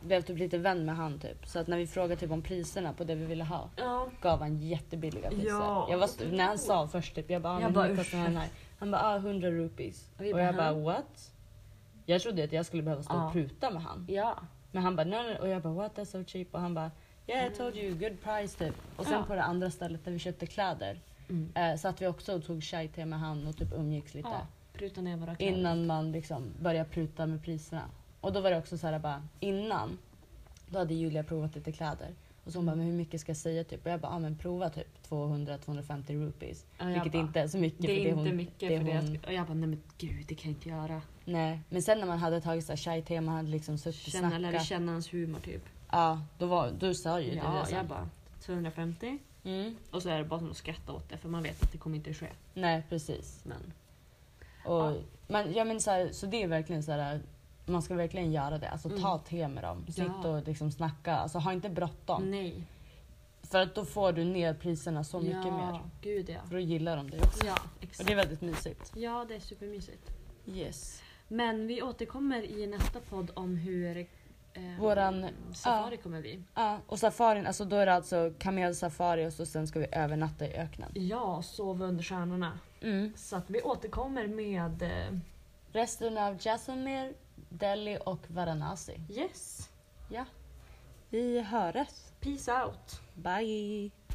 [SPEAKER 1] blev typ lite vän med han typ. Så att när vi frågade typ om priserna på det vi ville ha
[SPEAKER 2] Ja.
[SPEAKER 1] gav han jättebilliga priser.
[SPEAKER 2] Ja.
[SPEAKER 1] Jag var, st- när han sa först typ, jag bara, ah,
[SPEAKER 2] Jag
[SPEAKER 1] men
[SPEAKER 2] bara,
[SPEAKER 1] hur kostar den här? Han bara, ah, 100 rupees.
[SPEAKER 2] Och vi
[SPEAKER 1] och
[SPEAKER 2] bara,
[SPEAKER 1] jag bara,
[SPEAKER 2] "Huh?"
[SPEAKER 1] what? Jag trodde att jag skulle behöva stå
[SPEAKER 5] Ja.
[SPEAKER 1] och pruta med han.
[SPEAKER 2] Ja.
[SPEAKER 1] Men han bara, no, no. och jag bara, what, that's so cheap. Och han bara, yeah I told you, good price typ. Och sen
[SPEAKER 2] Ja.
[SPEAKER 1] på det andra stället där vi köpte kläder
[SPEAKER 5] Mm.
[SPEAKER 1] eh, satt vi också och tog chai te med han och typ umgicks lite
[SPEAKER 2] ja. Pruta ner våra kläder.
[SPEAKER 1] innan man liksom börjar pruta med priserna. Och då var det också så här bara innan, då hade Julia provat lite kläder. Och så hon bara, men hur mycket ska jag säga typ? Och jag bara, ah, men prova typ 200-250 rupees.
[SPEAKER 2] Ja, jag
[SPEAKER 1] Vilket
[SPEAKER 2] bara,
[SPEAKER 1] inte är så mycket.
[SPEAKER 2] Det är
[SPEAKER 1] för
[SPEAKER 2] inte
[SPEAKER 1] hon,
[SPEAKER 2] mycket
[SPEAKER 1] det
[SPEAKER 2] för det.
[SPEAKER 1] hon-
[SPEAKER 2] Och jag bara, nej men gud det kan jag inte göra.
[SPEAKER 1] Nej, men sen när man hade tagit så här chai-te, man hade liksom suttit och
[SPEAKER 2] Känna, eller
[SPEAKER 1] snackat.
[SPEAKER 2] känna hans humor typ.
[SPEAKER 1] Ja, då var, du sa ju du det.
[SPEAKER 2] Ja,
[SPEAKER 1] sen.
[SPEAKER 2] jag bara 250.
[SPEAKER 1] Mm,
[SPEAKER 2] Och så är det bara som att skratta åt det för man vet att det kommer inte ske.
[SPEAKER 1] nej, precis.
[SPEAKER 2] Men
[SPEAKER 1] Och,
[SPEAKER 2] Ja.
[SPEAKER 1] men, ja, men så, här, så det är verkligen så här, man ska verkligen göra det. Alltså ta te med dem. Sitt
[SPEAKER 2] Mm. Ja.
[SPEAKER 1] och liksom snacka. Alltså ha inte bråttom.
[SPEAKER 2] nej.
[SPEAKER 1] För att då får du ner priserna så mycket mer.
[SPEAKER 2] Gud ja.
[SPEAKER 1] För då gillar de det också.
[SPEAKER 2] Ja,
[SPEAKER 1] Och det
[SPEAKER 2] exakt.
[SPEAKER 1] är väldigt mysigt.
[SPEAKER 2] Ja, det är supermysigt.
[SPEAKER 1] Yes.
[SPEAKER 2] Men vi återkommer i nästa podd om hur eh,
[SPEAKER 1] Våran-
[SPEAKER 2] safari
[SPEAKER 1] ja.
[SPEAKER 2] kommer vi.
[SPEAKER 1] Ja, och safarin, alltså då är det alltså kamelsafari och så sen ska vi övernatta i öknen.
[SPEAKER 2] Ja, sova under stjärnorna.
[SPEAKER 1] Mm.
[SPEAKER 2] Så att vi återkommer med eh,
[SPEAKER 1] Resten av Jaisalmer, Delhi och Varanasi.
[SPEAKER 2] Yes,
[SPEAKER 1] Ja. Vi hörs.
[SPEAKER 2] peace out.
[SPEAKER 1] Bye!